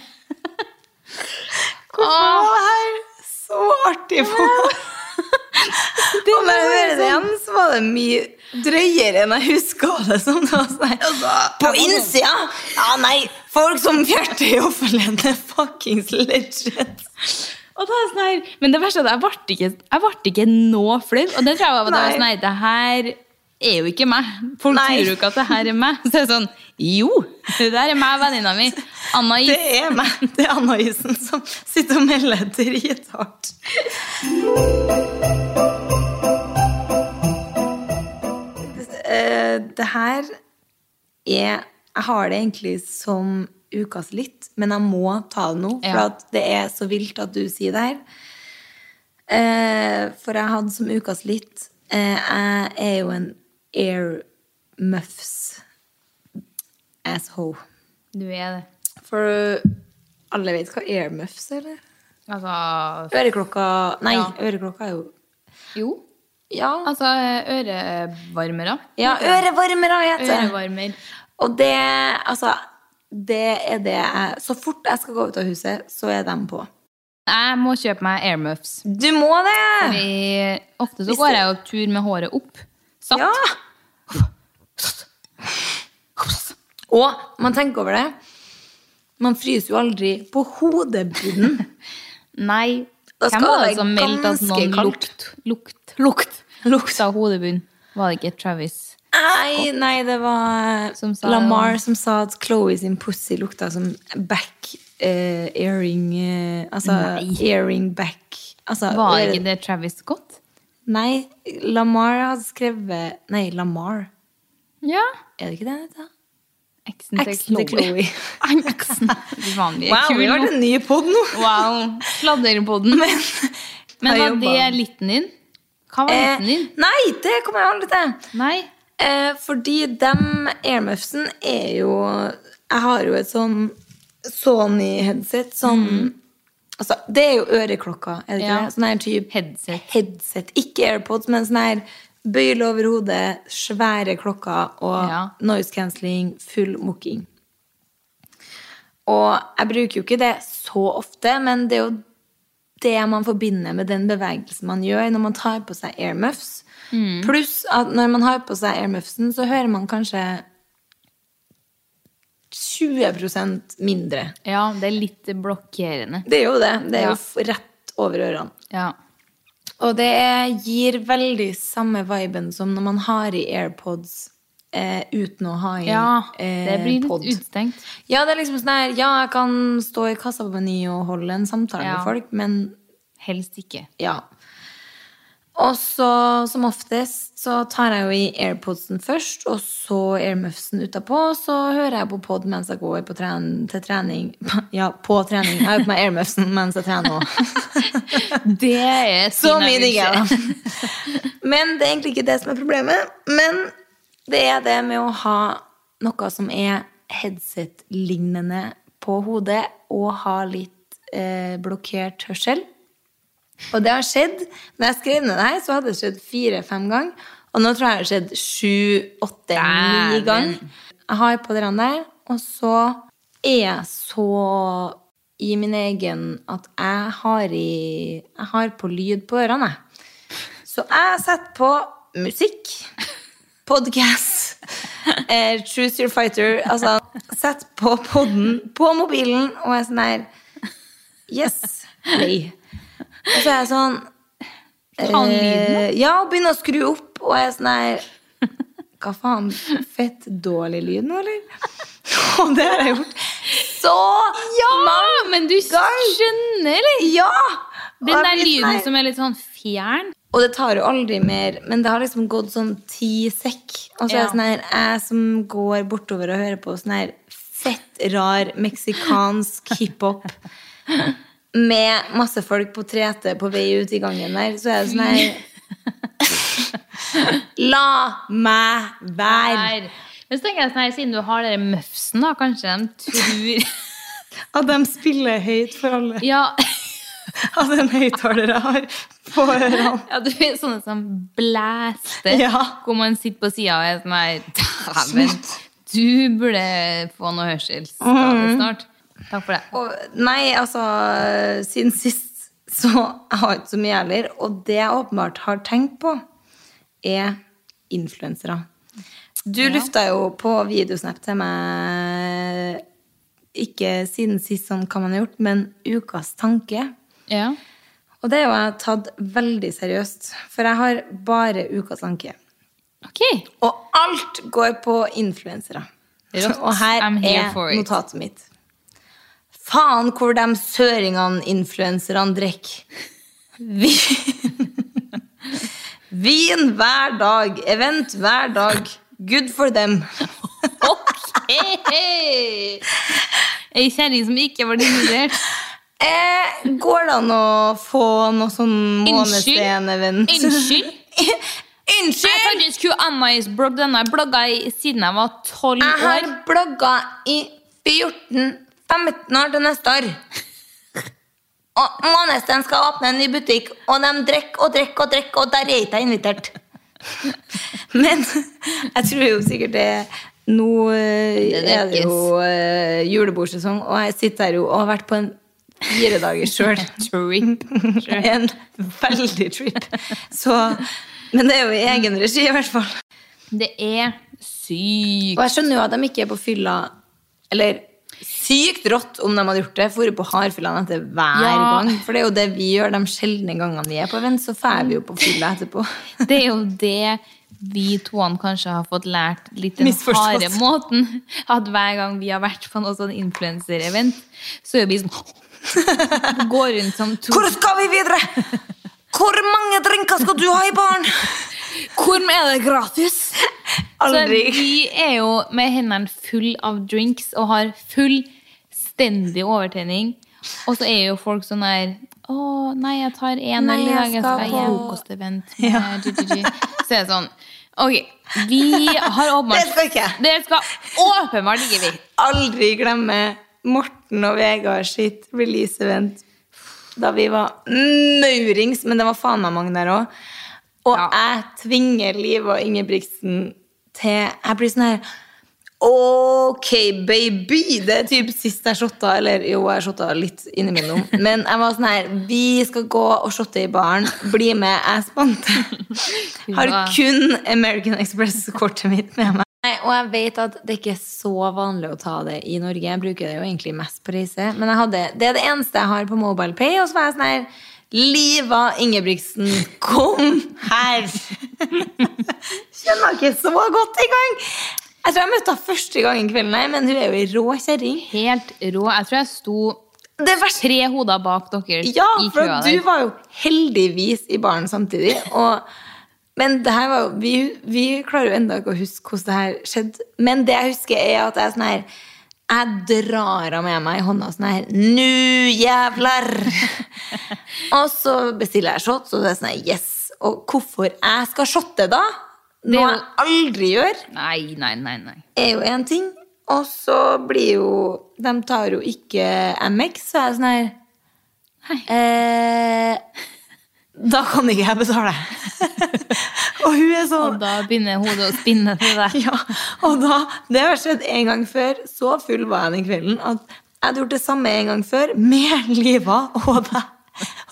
Speaker 2: Hvorfor var det her så artig for meg? Og når jeg hører det sånn.
Speaker 3: sånn-
Speaker 2: igjen, så var det mye drøyere enn jeg huska det som. Det var sånn her, På innsida! Ja, nei, folk som fjerter i offentligheten, er fuckings legend.
Speaker 3: Og da er det sånn her, men det verste er at jeg ble ikke, jeg ble ikke nå flau. Og det tror jeg var at jeg var sånn
Speaker 2: Nei.
Speaker 3: her, det her er jo ikke meg. Folk
Speaker 2: Nei.
Speaker 3: tror jo ikke at det her er meg. Så er det sånn, jo, det der er meg, venninna mi. Anna
Speaker 2: Det
Speaker 3: Is.
Speaker 2: er meg. Det er Anna-isen som sitter og melder drithardt. eh, det her er Jeg har det egentlig som ukas litt, men jeg må ta det nå, for
Speaker 3: Ja.
Speaker 2: at det er så vilt at du sier det her. Eh, for jeg hadde som ukas litt eh, Jeg er jo en air muffs asshole.
Speaker 3: Du er det.
Speaker 2: For alle vet hva airmuffs er, eller?
Speaker 3: Altså
Speaker 2: Øreklokka Nei,
Speaker 3: Ja.
Speaker 2: øreklokka er jo
Speaker 3: Jo.
Speaker 2: Ja,
Speaker 3: Altså ørevarmere.
Speaker 2: ja ørevarmere heter det.
Speaker 3: Ørevarmer.
Speaker 2: Og det Altså, det er det jeg Så fort jeg skal gå ut av huset, så er de på.
Speaker 3: Jeg må kjøpe meg airmuffs.
Speaker 2: Du må det!
Speaker 3: Vi- Ofte så
Speaker 2: Hvis
Speaker 3: går
Speaker 2: det-
Speaker 3: jeg jo tur med håret opp. Satt.
Speaker 2: Ja! Og man tenker over det. Man fryser jo aldri på hodebunnen.
Speaker 3: Nei.
Speaker 2: Da
Speaker 3: Hvem
Speaker 2: skal
Speaker 3: var
Speaker 2: det
Speaker 3: det som
Speaker 2: være
Speaker 3: meldte at
Speaker 2: ganske
Speaker 3: noen
Speaker 2: kaldt.
Speaker 3: lukt, lukt, lukt, lukt av hodebunn? Var det ikke Travis?
Speaker 2: Nei, nei, det var
Speaker 3: Som sa-
Speaker 2: Lamar som sa at Chloe sin pussy lukta som back eh, earring eh, Altså earring back. Altså,
Speaker 3: Var
Speaker 2: øre-
Speaker 3: ikke det Travis Scott?
Speaker 2: Nei, Lamar hadde skrevet Nei, Lamar.
Speaker 3: Ja.
Speaker 2: Er det ikke det han heter?
Speaker 3: Eksen til
Speaker 2: Eksen til
Speaker 3: Chloe.
Speaker 2: Chloe.
Speaker 3: Eksen. Vanlig. Kul nå.
Speaker 2: en ny pod nå!
Speaker 3: Wow. Sladderpodden. Men, men var
Speaker 2: jobba.
Speaker 3: det liten din? Hva var
Speaker 2: Eh,
Speaker 3: liten din?
Speaker 2: nei, det kommer jeg aldri til!
Speaker 3: Nei.
Speaker 2: Eh, fordi dem airmuffsen er jo Jeg har jo et sånn Sony-headset som Altså, det er jo øreklokka, er det ikke
Speaker 3: Mm. Ja.
Speaker 2: det? Sånn her type
Speaker 3: Headset.
Speaker 2: headset. Ikke AirPods, men sånn her bøyle over hodet, svære klokker og
Speaker 3: Ja.
Speaker 2: noise cancelling, full mokking. Og jeg bruker jo ikke det så ofte, men det er jo det man forbinder med den bevegelsen man gjør når man tar på seg airmuffs.
Speaker 3: Mm.
Speaker 2: Pluss at når man har på seg airmuffsen, så hører man kanskje 20 mindre.
Speaker 3: Ja, det er litt blokkerende.
Speaker 2: Det er jo det. Det er
Speaker 3: Ja.
Speaker 2: jo f- rett over ørene.
Speaker 3: Ja.
Speaker 2: Og det gir veldig samme viben som når man har i AirPods eh, uten å ha i
Speaker 3: ja.
Speaker 2: eh,
Speaker 3: Det blir
Speaker 2: pod.
Speaker 3: litt utstengt.
Speaker 2: Ja, det er liksom sånn her Ja, jeg kan stå i kassa på Meny og holde en samtale
Speaker 3: Ja.
Speaker 2: med folk, men
Speaker 3: Helst ikke.
Speaker 2: ja. Og så, som oftest, så tar jeg jo i AirPodsen først, og så AirMuffsen utapå, og så hører jeg på pod mens jeg går på tren til trening. Ja, på trening. Jeg har jo på meg AirMuffsen mens jeg trener òg.
Speaker 3: Det er
Speaker 2: Så
Speaker 3: sin
Speaker 2: mye digger
Speaker 3: erfaring.
Speaker 2: jeg da. Men det er egentlig ikke det som er problemet. Men det er det med å ha noe som er headset-lignende på hodet, og ha litt eh, blokkert hørsel. Og det har skjedd. Når jeg skrev ned det her, så hadde det skjedd fire-fem ganger. Og nå tror jeg det har skjedd sju-åtte-ni
Speaker 3: Dæven.
Speaker 2: ganger. Jeg har på den der, og så er jeg så i min egen at jeg har, i, jeg har på lyd på ørene. jeg. Så jeg setter på musikk, podcast, eh, Choose Your Fighter Altså, setter på podden på mobilen og er sånn her Yes, play. Og så er jeg sånn
Speaker 3: Faen, lyden, da.
Speaker 2: eh, Ja, og begynner å skru opp, og jeg er sånn her Hva faen? Fett dårlig lyd nå, eller? Og det har jeg gjort så
Speaker 3: Ja,
Speaker 2: mange
Speaker 3: men du
Speaker 2: ganger!
Speaker 3: skjønner, eller?
Speaker 2: Ja! Og jeg
Speaker 3: Den der
Speaker 2: blir sånn
Speaker 3: lyden
Speaker 2: her-
Speaker 3: som er litt sånn fjern.
Speaker 2: Og det tar jo aldri mer, men det har liksom gått sånn ti sekk. Og så er
Speaker 3: Ja.
Speaker 2: det sånn her, jeg som går bortover og hører på sånn her fett rar meksikansk hiphop med masse folk på 3T på vei ut i gangen der, så er det sånn her La meg være!
Speaker 3: Her. Men så tenker jeg sånn her, siden du har dere møfsen, da, kanskje de tror
Speaker 2: At de spiller høyt for alle.
Speaker 3: Ja,
Speaker 2: At en høyttaler har på ørene.
Speaker 3: ja du er sånne som blæster,
Speaker 2: Ja.
Speaker 3: hvor man sitter på sida og er sånn her Dæven, du burde få noe hørselsskade snart. Takk for det.
Speaker 2: Mhm. Og, nei, altså, siden sist så jeg har ikke så mye heller. Og det jeg åpenbart har tenkt på, er influensere. Du lufta jo på videosnap til meg ikke siden sist sånn hva man har gjort, men ukas tanke.
Speaker 3: Ja.
Speaker 2: Og det har jeg tatt veldig seriøst, for jeg har bare ukas tanke.
Speaker 3: Ok.
Speaker 2: Og alt går på influensere.
Speaker 3: Rått.
Speaker 2: Og her
Speaker 3: I'm here
Speaker 2: er
Speaker 3: for it.
Speaker 2: notatet mitt. Faen hvor de søringene influenserne drikker. Vi- Vin hver dag, event hver dag. Good for them.
Speaker 3: Ok! Ei kjerring som ikke var dimulert.
Speaker 2: Eh, går det an å få noe sånn
Speaker 3: Unnskyld?
Speaker 2: månestenevenn?
Speaker 3: Unnskyld? Jeg
Speaker 2: Unnskyld!
Speaker 3: faktisk hun Anna-Is blogg. Denne blogga i- siden jeg var tolv
Speaker 2: Jeg har
Speaker 3: år.
Speaker 2: blogga i 14-15 år til neste år. Og Månesten skal åpne en ny butikk, og de drikker og drikker og drikker, og der er ikke jeg invitert. Men jeg tror jo sikkert det Nå eh,
Speaker 3: Det
Speaker 2: er det
Speaker 3: drikkes.
Speaker 2: jo eh, julebordsesong, og jeg sitter her jo og har vært på en fire dager sjøl.
Speaker 3: Trip.
Speaker 2: En veldig trip. Så, men det er jo i egen regi, i hvert fall.
Speaker 3: Det er sykt.
Speaker 2: Og jeg skjønner jo at de ikke er på fylla Eller sykt rått om de hadde gjort det. Fôret på hardfyllene etter hver
Speaker 3: Ja.
Speaker 2: gang. For det er jo det vi gjør de sjeldne gangene vi er på event, så drar vi jo på fylla etterpå.
Speaker 3: Det er jo det vi toene kanskje har fått lært litt den
Speaker 2: Misforstått.
Speaker 3: harde måten. At hver gang vi har vært på noe sånn influenserevent, så er vi sånn Går rundt som to
Speaker 2: Hvor skal vi videre? Hvor mange drinker skal du ha i baren?
Speaker 3: Hvor er det gratis?
Speaker 2: Aldri.
Speaker 3: Så vi er jo med hendene full av drinks og har fullstendig overtenning. Og så er jo folk sånn her Å, nei, jeg tar én
Speaker 2: Nei,
Speaker 3: øl i dag.
Speaker 2: jeg
Speaker 3: Jeg
Speaker 2: skal
Speaker 3: skal i
Speaker 2: på-
Speaker 3: frokostevent. med GGG». Så er det sånn Ok, vi har åpenbart
Speaker 2: Det skal ikke jeg.
Speaker 3: Det skal åpenbart ikke vi.
Speaker 2: Aldri glemme Morten og Vegard sitt release-event da vi var maurings, men det var faen meg mange der òg. Og
Speaker 3: Ja.
Speaker 2: jeg tvinger Liv og Ingebrigtsen til Jeg blir sånn her Ok, baby! Det er typ sist jeg shotta. Eller jo, jeg shotta litt innimellom. Men jeg var sånn her Vi skal gå og shotte i baren. Bli med, jeg spant. Har
Speaker 3: Ja.
Speaker 2: kun American Express-kortet mitt med meg. Nei, og jeg vet at det ikke er så vanlig å ta det i Norge. Jeg bruker det jo egentlig mest på reise. Men jeg hadde, det er det eneste jeg har på MobilePay. Og så var jeg sånn her Liva Ingebrigtsen, kom her! Kjenner ikke så godt engang! Jeg tror jeg møtte henne første gangen kvelden, nei, men hun er jo ei rå kjerring.
Speaker 3: Helt rå. Jeg tror jeg sto
Speaker 2: Det verste
Speaker 3: tre hoder bak dere
Speaker 2: Ja,
Speaker 3: i
Speaker 2: for
Speaker 3: køa
Speaker 2: du
Speaker 3: der.
Speaker 2: var jo heldigvis i baren samtidig. Og, men det her var jo vi, vi klarer jo enda ikke å huske hvordan det her skjedde. Men det jeg husker, er at jeg er sånn her jeg drar av med meg i hånda sånn her Nu, jævlar! og så bestiller jeg shots, og det er sånn her Yes! Og hvorfor jeg skal shotte, da?
Speaker 3: er
Speaker 2: Noe
Speaker 3: jo-
Speaker 2: jeg aldri gjør
Speaker 3: Nei, nei, nei. nei.
Speaker 2: er jo én ting. Og så blir jo De tar jo ikke MX, så er jeg sånn her eh, Da kan ikke jeg betale. og hun er
Speaker 3: Og
Speaker 2: sånn
Speaker 3: da begynner hodet å spinne til deg.
Speaker 2: ja, og da, Det har skjedd en gang før. Så full var jeg den kvelden at jeg hadde gjort det samme en gang før med Liva og deg.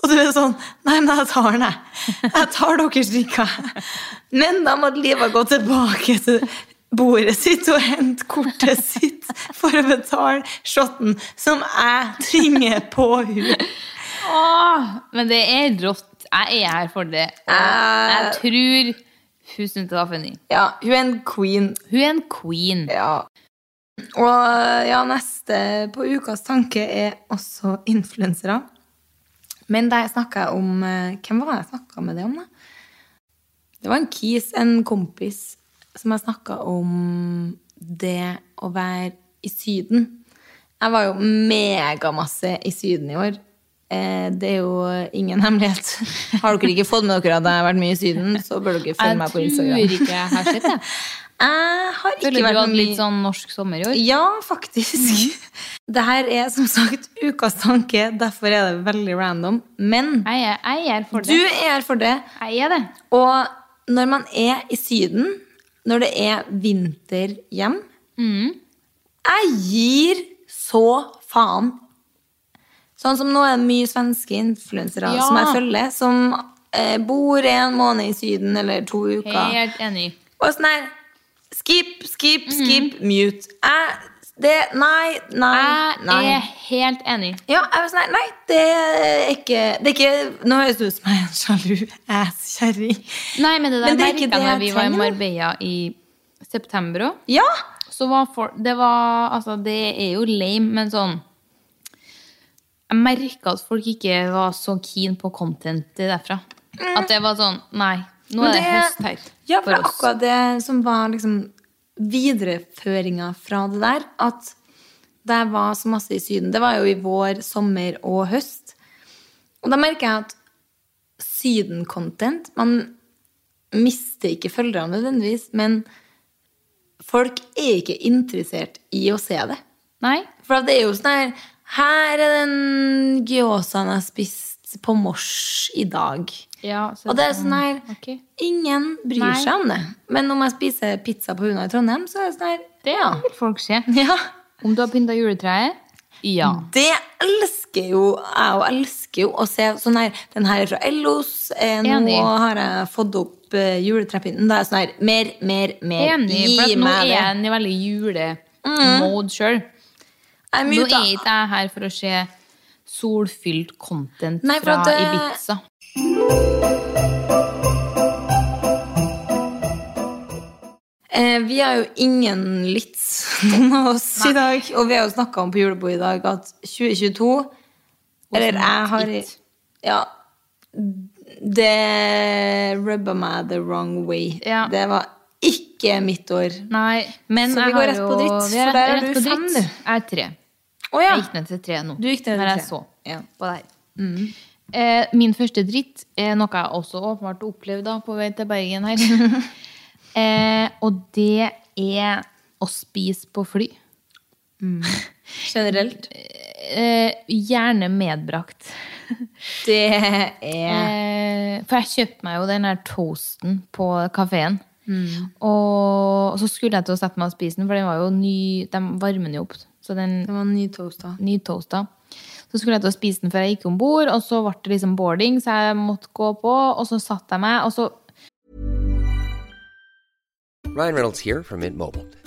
Speaker 2: Og du er sånn Nei, men jeg tar den, jeg. Jeg tar deres drikker. Men da måtte Liva gå tilbake til bordet sitt og hente kortet sitt for å betale shotten som jeg tvinger på henne.
Speaker 3: Åh, men det er rått. Jeg er her for det. Og jeg tror hun syntes det var funny.
Speaker 2: Eh, Ja, hun er en queen.
Speaker 3: Hun er en queen.
Speaker 2: Ja. Og ja, neste på ukas tanke er også influensere. Men der snakka jeg om eh, Hvem var det jeg snakka med det om, da? Det var en kis, en kompis, som jeg snakka om det å være i Syden. Jeg var jo megamasse i Syden i år. Eh, Det er jo ingen hemmelighet. Har dere ikke fått med dere at jeg har vært mye i Syden, så bør dere følge
Speaker 3: Jeg
Speaker 2: meg
Speaker 3: tror
Speaker 2: på Instagram.
Speaker 3: ikke jeg har sett det.
Speaker 2: Jeg har ikke
Speaker 3: Føler du
Speaker 2: vært
Speaker 3: hadde
Speaker 2: noe
Speaker 3: litt
Speaker 2: mye-
Speaker 3: sånn norsk sommer i år?
Speaker 2: ja, faktisk.
Speaker 3: Mm.
Speaker 2: Det her er som sagt ukas tanke, derfor er det veldig random. Men
Speaker 3: Jeg er, jeg er her
Speaker 2: du
Speaker 3: for det.
Speaker 2: er her for det.
Speaker 3: Jeg er det.
Speaker 2: Og når man er i Syden, når det er vinter hjem
Speaker 3: Mm.
Speaker 2: Jeg gir så faen. Sånn som nå er det mye svenske influensere
Speaker 3: Ja.
Speaker 2: som jeg følger, som eh, bor en måned i Syden eller to uker.
Speaker 3: Helt enig.
Speaker 2: Og sånn her Skip, skip,
Speaker 3: Mhm.
Speaker 2: skip, mute. Jeg, det, nei, nei, nei.
Speaker 3: Jeg er helt enig.
Speaker 2: Ja, jeg var sånn her, nei, det er ikke, det er ikke Nå høres det ut som jeg er en sjalu ass-kjerring.
Speaker 3: Nei, men det der
Speaker 2: Men det er ikke
Speaker 3: merket jeg
Speaker 2: det
Speaker 3: når vi
Speaker 2: jeg
Speaker 3: var i
Speaker 2: trenger, da.
Speaker 3: Marbella i september òg.
Speaker 2: Ja!
Speaker 3: Så var for, det var Altså, det er jo lame, men sånn Jeg merka at folk ikke var så keen på contentet derfra. At det var sånn Nei, nå
Speaker 2: Mm. men
Speaker 3: er det høst her.
Speaker 2: Ja, for det
Speaker 3: for
Speaker 2: er
Speaker 3: oss.
Speaker 2: akkurat det som var liksom videreføringa fra det der at da jeg var så masse i Syden Det var jo i vår, sommer og høst. Og da merker jeg at Syden-content Man mister ikke følgere nødvendigvis, men folk er ikke interessert i å se det.
Speaker 3: Nei?
Speaker 2: For det er jo sånn her Her er den gyozaen jeg spiste på mors i dag.
Speaker 3: Ja, så
Speaker 2: og det er
Speaker 3: det-
Speaker 2: sånn her
Speaker 3: ok.
Speaker 2: Ingen bryr
Speaker 3: Nei.
Speaker 2: seg om det. Men om jeg spiser pizza på Huna i Trondheim, så er det sånn her
Speaker 3: Det
Speaker 2: ja.
Speaker 3: vil folk se.
Speaker 2: ja.
Speaker 3: Om du har pynta juletreet? Ja.
Speaker 2: Det elsker jo jeg, og elsker jo å se sånn her Den her er fra Ellos. Eh, nå
Speaker 3: Enig.
Speaker 2: har jeg fått opp eh, juletrepynten. Da er jeg sånn her Mer, mer, mer.
Speaker 3: Enig, for at
Speaker 2: Gi
Speaker 3: nå
Speaker 2: meg
Speaker 3: er
Speaker 2: det. Mm.
Speaker 3: jeg i veldig julemode sjøl.
Speaker 2: Jeg er
Speaker 3: Nå er
Speaker 2: muta.
Speaker 3: ikke jeg her for å se solfylt content
Speaker 2: Nei, for
Speaker 3: fra
Speaker 2: at det-
Speaker 3: Ibiza.
Speaker 2: Eh, vi har jo ingen lytt, noen av oss, i dag. Og vi har jo snakka om på julebordet i dag at 2022 Eller jeg har
Speaker 3: it.
Speaker 2: Ja. Det rubba meg the wrong way.
Speaker 3: Ja.
Speaker 2: Det var ikke mitt år.
Speaker 3: Nei, men
Speaker 2: Så vi
Speaker 3: jeg
Speaker 2: går
Speaker 3: har
Speaker 2: rett på
Speaker 3: jo-
Speaker 2: dritt,
Speaker 3: Vi har
Speaker 2: for der er
Speaker 3: rett, rett
Speaker 2: du
Speaker 3: på
Speaker 2: fem,
Speaker 3: dritt.
Speaker 2: du.
Speaker 3: Jeg er tre.
Speaker 2: Å ja!
Speaker 3: Jeg gikk ned til tre nå.
Speaker 2: Du gikk ned til
Speaker 3: når
Speaker 2: tre.
Speaker 3: jeg så
Speaker 2: Ja.
Speaker 3: på det her. Eh, min første dritt er noe jeg også åpenbart opplevde da, på vei til Bergen her. eh, og det er å spise på fly.
Speaker 2: Generelt.
Speaker 3: Eh, gjerne medbrakt.
Speaker 2: Det er
Speaker 3: Eh, for jeg kjøpte meg jo den der toasten på kafeen. Og så skulle jeg til å sette meg og spise den, for den var jo ny, de varmer den jo opp. Så den
Speaker 2: Det var en ny toast, da.
Speaker 3: nytoasta. Så skulle jeg til å spise den før jeg gikk om bord, og så ble det liksom boarding, så jeg måtte gå på, og så satt jeg meg, og så
Speaker 6: Ryan Reynolds here from Mint Mobile.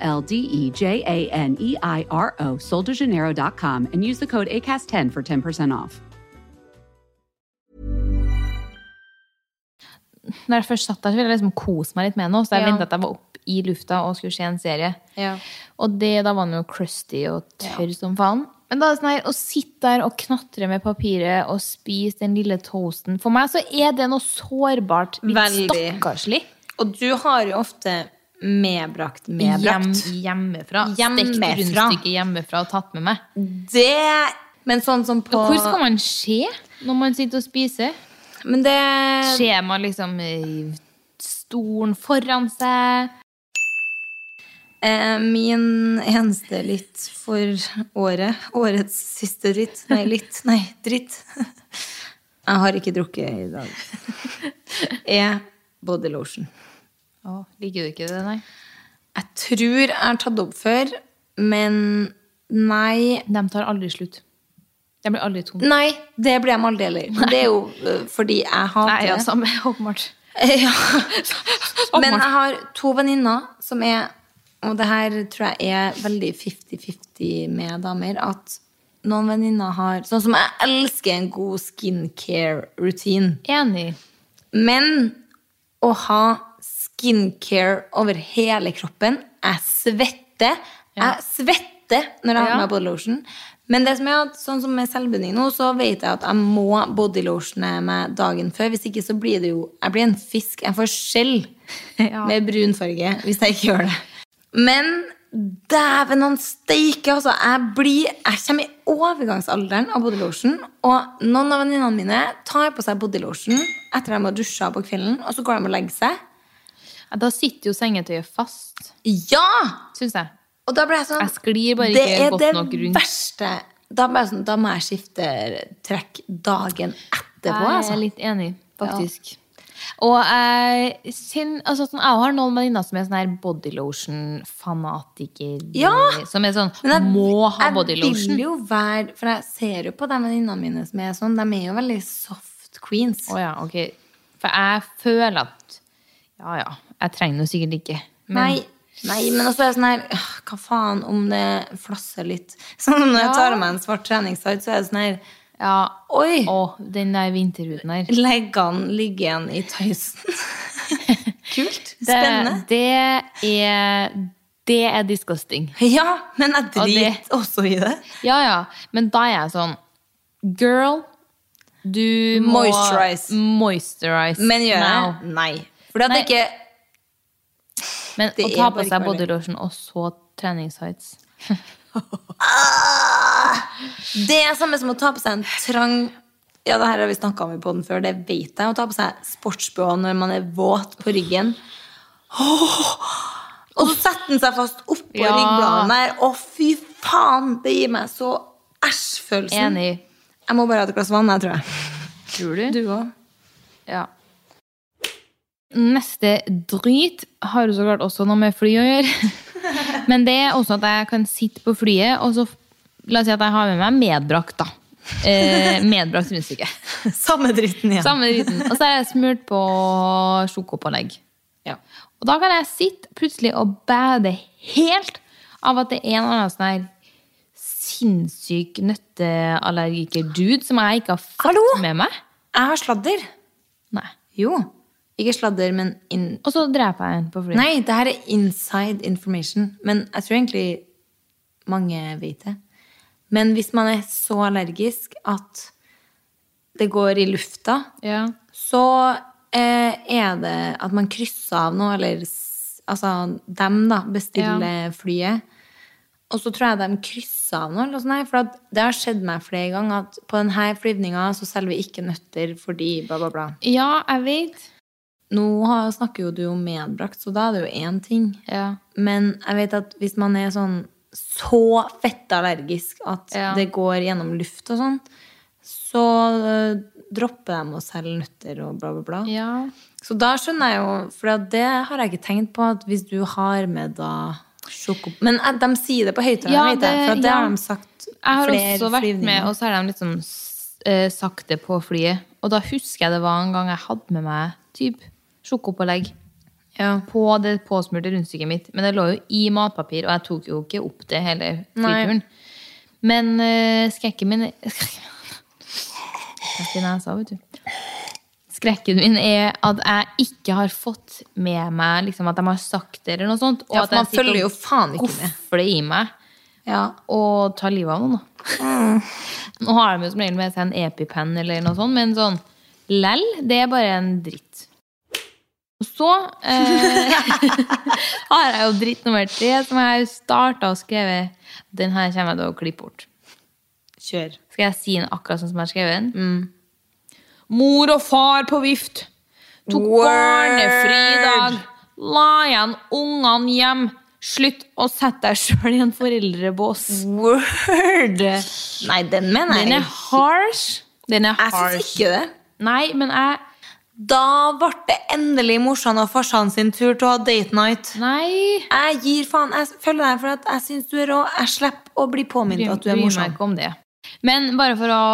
Speaker 1: L D E J A N E I R O, soldejaneiro.com, and use the code ACAST10 for 10% off.
Speaker 3: Når jeg først satt der, så ville jeg liksom kose meg litt med noe, så jeg
Speaker 2: Ja.
Speaker 3: ventet at jeg var opp i lufta og skulle se en serie.
Speaker 2: Ja.
Speaker 3: Og det, da var den jo crusty og tørr som faen. Men da er det sånn her, å sitte der og knatre med papiret og spise den lille toasten For meg så er det noe sårbart, litt
Speaker 2: Veldig.
Speaker 3: stakkarslig.
Speaker 2: Og du har jo ofte medbrakt
Speaker 3: Hjem,
Speaker 2: medbrakt.
Speaker 3: hjemmefra.
Speaker 2: Hjemmefra.
Speaker 3: Stekt rundstykke hjemmefra og tatt med meg.
Speaker 2: Det Men sånn som på
Speaker 3: Hvor skal man se når man sitter og spiser?
Speaker 2: Men det
Speaker 3: Ser man liksom i stolen foran seg?
Speaker 2: eh, Min eneste litt for året Årets siste dritt. Nei, litt. Nei, dritt. Jeg har ikke drukket i dag. Er body lotion.
Speaker 3: Å, liker du ikke det, nei?
Speaker 2: Jeg tror jeg har tatt det opp før, men nei.
Speaker 3: De tar aldri slutt. De blir aldri tomme.
Speaker 2: Nei, det ble jeg med aldri heller. Men Det er jo eh, fordi jeg hater
Speaker 3: Nei, ja,
Speaker 2: det.
Speaker 3: samme, åpenbart.
Speaker 2: Ja. Men
Speaker 3: Åpenbart.
Speaker 2: jeg har to venninner som er Og det her tror jeg er veldig 50-50 med damer. At noen venninner har Sånn som jeg elsker en god skincare-rutin.
Speaker 3: Enig.
Speaker 2: Men å ha skincare over hele kroppen Jeg svetter. Jeg svetter når jeg har på
Speaker 3: Ja.
Speaker 2: meg body lotion. Men det som er at, sånn som med selvbinding nå, så vet jeg at jeg må body lotione meg dagen før. Hvis ikke så blir det jo Jeg blir en fisk. Jeg får skjell med brun farge hvis jeg ikke gjør det. Men dæven han steike, altså. Jeg blir Jeg kommer i overgangsalderen av body lotion. Og noen av venninnene mine tar på seg body lotion etter at de har dusja på kvelden, og så går de og legger seg.
Speaker 3: Ja, Da sitter jo sengetøyet fast,
Speaker 2: Ja!
Speaker 3: syns jeg.
Speaker 2: Og da ble jeg sånn
Speaker 5: Jeg sklir bare
Speaker 2: Det
Speaker 5: ikke
Speaker 2: er
Speaker 5: godt
Speaker 2: det
Speaker 5: nok rundt.
Speaker 2: verste. Da, ble jeg sånn, da må jeg skifte trekk dagen etterpå,
Speaker 5: Jeg
Speaker 2: altså.
Speaker 5: er litt enig, faktisk. Og jeg, kjenner- altså, sånn, jeg har noen venninner som er sånn her body lotion-fanatiker.
Speaker 2: Ja!
Speaker 5: Som er sånn
Speaker 2: Men jeg,
Speaker 5: må ha body
Speaker 2: Jeg vil
Speaker 5: lotion.
Speaker 2: jo være For jeg ser jo på de venninnene mine som er sånn. De er jo veldig soft queens.
Speaker 5: Å ja, ok. For jeg føler at Ja ja, jeg trenger det sikkert ikke. Men
Speaker 2: Nei, nei, men også er det sånn her øh, Hva faen om det flasser litt? Sånn når jeg tar av meg en svart treningstight, så er det sånn her
Speaker 5: ja,
Speaker 2: Oi!
Speaker 5: å, den der vinterhuden her.
Speaker 2: Leggene ligger igjen i tøysen. Kult. Spennende.
Speaker 5: Det, det er Det er disgusting.
Speaker 2: Ja, men jeg
Speaker 5: Og det-
Speaker 2: driter også i det.
Speaker 5: Ja, ja. Men da er jeg sånn Girl, du må
Speaker 2: Moisturize.
Speaker 5: moisturize
Speaker 2: Men gjør jeg?
Speaker 5: now.
Speaker 2: Nei. Fordi at
Speaker 5: Nei.
Speaker 2: det ikke
Speaker 5: Men
Speaker 2: Det
Speaker 5: å
Speaker 2: er
Speaker 5: ta på
Speaker 2: bare
Speaker 5: seg
Speaker 2: ikke mulig.
Speaker 5: body lotion og så treningstights
Speaker 2: Det er samme som å ta på seg en trang Ja, det her har vi snakka om i poden før, det vet jeg. Å ta på seg sportsbh når man er våt på ryggen. Åh! Og så setter den seg fast oppå
Speaker 5: Ja.
Speaker 2: ryggbladene der. Å, fy faen! Det gir meg så æsj-følelsen.
Speaker 5: Enig.
Speaker 2: Jeg må bare ha et glass vann, jeg, tror jeg.
Speaker 5: Tror du?
Speaker 2: Du òg.
Speaker 5: Ja. Neste drit har jo så klart også noe med fly å gjøre. Men det er også at jeg kan sitte på flyet, og så La oss si at jeg har med meg medbrakt, da. Eh, medbrakt rundstykke.
Speaker 2: Samme dritten igjen.
Speaker 5: Samme driten. Og så har jeg smurt på sjokopålegg.
Speaker 2: Ja.
Speaker 5: Og da kan jeg sitte plutselig og bade helt av at det er en eller annen sånn her sinnssyk nøtteallergiker-dude som jeg ikke har fått
Speaker 2: Hallo?
Speaker 5: med meg.
Speaker 2: Jeg har sladder.
Speaker 5: Nei.
Speaker 2: Jo. Ikke sladder, men in...
Speaker 5: Og så dreper jeg en på flyet.
Speaker 2: Nei, det her er inside information. Men jeg tror egentlig mange vet det. Men hvis man er så allergisk at det går i lufta,
Speaker 5: Ja.
Speaker 2: så eh, er det at man krysser av noe, eller s- altså dem, da, bestiller flyet. Og så tror jeg de krysser av noe, eller noe sånt, her, for at det har skjedd meg flere ganger at på denne flyvninga så selger vi ikke nøtter fordi bla, bla, bla.
Speaker 5: ja, jeg vet.
Speaker 2: Nå har- snakker jo du om medbrakt, så da er det jo én ting.
Speaker 5: Ja.
Speaker 2: Men jeg vet at hvis man er sånn så fette allergisk at
Speaker 5: Ja.
Speaker 2: det går gjennom luft og sånn, så eh, dropper de å selge nøtter og bla, bla, bla.
Speaker 5: ja.
Speaker 2: Så da skjønner jeg jo, for det har jeg ikke tenkt på, at hvis du har med da sjoko... Men eh, de sier det på høyttaleren,
Speaker 5: Ja,
Speaker 2: vet jeg,
Speaker 5: det-
Speaker 2: for at det
Speaker 5: ja.
Speaker 2: har de sagt
Speaker 5: Jeg har
Speaker 2: flere
Speaker 5: også vært med,
Speaker 2: flyvninger.
Speaker 5: og så har de litt sånn s- eh, sakte på flyet. Og da husker jeg det var en gang jeg hadde med meg typ sjokopålegg
Speaker 2: Ja.
Speaker 5: på det påsmurte rundstykket mitt. Men det lå jo i matpapir, og jeg tok jo ikke opp det hele flyturen. Men eh, skrekken min Rett i nesa, vet du. Skrekken min er at jeg ikke har fått med meg liksom, at de har sagt det, eller noe sånt. Og
Speaker 2: Ja,
Speaker 5: at
Speaker 2: for
Speaker 5: jeg
Speaker 2: man
Speaker 5: sitter
Speaker 2: følger jo
Speaker 5: og
Speaker 2: faen ikke med.
Speaker 5: goffer det i meg
Speaker 2: Ja.
Speaker 5: og tar livet av noen, da. Nå har de jo som regel med seg en EpiPen eller noe sånt, men sånn lell, det er bare en dritt. Og så eh, har jeg jo dritt nummer tre, som jeg har starta og skrevet. Den her kommer jeg til å klippe bort.
Speaker 2: Kjør.
Speaker 5: Skal jeg si den akkurat sånn som jeg har skrevet den? Mor og far på vift. Tok barnefri dag. La igjen ungene hjem. Slutt å sette deg sjøl i en foreldrebås.
Speaker 2: Word! Nei, den mener jeg.
Speaker 5: Den er harsh. Den er
Speaker 2: Jeg
Speaker 5: harsh.
Speaker 2: synes ikke det.
Speaker 5: Nei, men jeg
Speaker 2: Da ble det endelig morsan og farsan sin tur til å ha date night.
Speaker 5: Nei.
Speaker 2: Jeg gir faen. Jeg følger deg for at jeg syns du er rå. Jeg slipper å bli påminnet at du er
Speaker 5: Bryr meg
Speaker 2: morsom.
Speaker 5: ikke om det. Men bare for å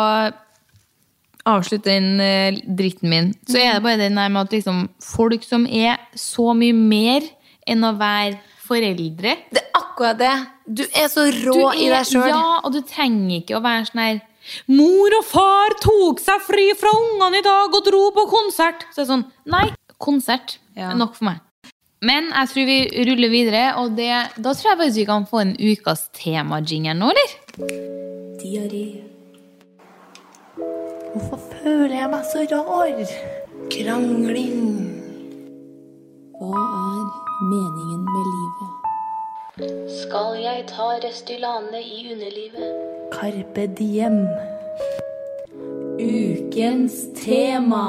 Speaker 5: avslutte den eh, dritten min, så er det bare den der med at liksom, folk som er så mye mer enn å være foreldre
Speaker 2: Det er akkurat det. Du er så rå
Speaker 5: Du
Speaker 2: i
Speaker 5: er-
Speaker 2: deg sjøl.
Speaker 5: Ja, og du trenger ikke å være sånn her Mor og far tok seg fri fra ungene i dag og dro på konsert. Så det er sånn, nei, konsert er nok for meg. Men jeg tror vi ruller videre, og det, da tror jeg faktisk vi kan få en ukas temajingle nå, eller?
Speaker 3: Diaré. Hvorfor føler jeg meg så rar? Krangling. Hva er meningen med livet? Skal jeg ta Restylane i underlivet? Carpe diem. Ukens tema.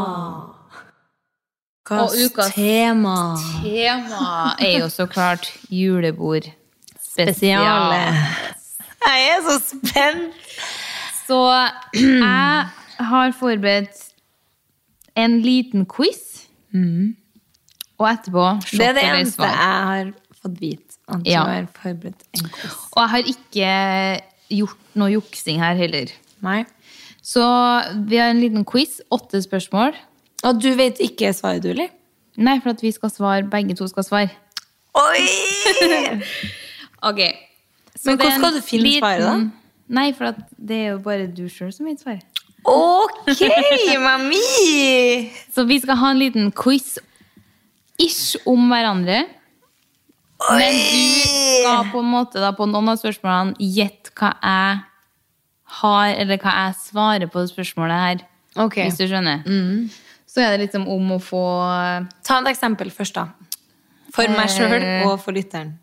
Speaker 2: Hva
Speaker 5: Og ukas-
Speaker 2: tema?
Speaker 5: Tema er jo så klart julebord. spesiale.
Speaker 2: Jeg er så spent!
Speaker 5: Så jeg har forberedt en liten quiz. Og etterpå
Speaker 2: Mm.
Speaker 5: sjokk
Speaker 2: Det er det
Speaker 5: eller
Speaker 2: eneste
Speaker 5: svar.
Speaker 2: jeg har fått vite. At
Speaker 5: Ja.
Speaker 2: du har forberedt en quiz.
Speaker 5: Og jeg har ikke gjort noe juksing her heller.
Speaker 2: Nei.
Speaker 5: Så vi har en liten quiz. Åtte spørsmål.
Speaker 2: Og du vet ikke svaret, du, eller?
Speaker 5: Nei, for at vi skal svare, begge to skal svare.
Speaker 2: Oi!
Speaker 5: Ok. Så
Speaker 2: Men
Speaker 5: det er
Speaker 2: hvordan skal
Speaker 5: en
Speaker 2: du finne svaret, da?
Speaker 5: Nei, for at det er jo bare du sjøl som vet svaret.
Speaker 2: Ok, mami!
Speaker 5: Så vi skal ha en liten quiz ish om hverandre. Men du skal på en måte da på noen av spørsmålene gjette hva jeg har, eller hva jeg svarer på det spørsmålet her.
Speaker 2: Ok, Mm.
Speaker 5: Hvis du skjønner. Så er det liksom om å få
Speaker 2: Ta et eksempel først, da. For meg sjøl og for lytteren.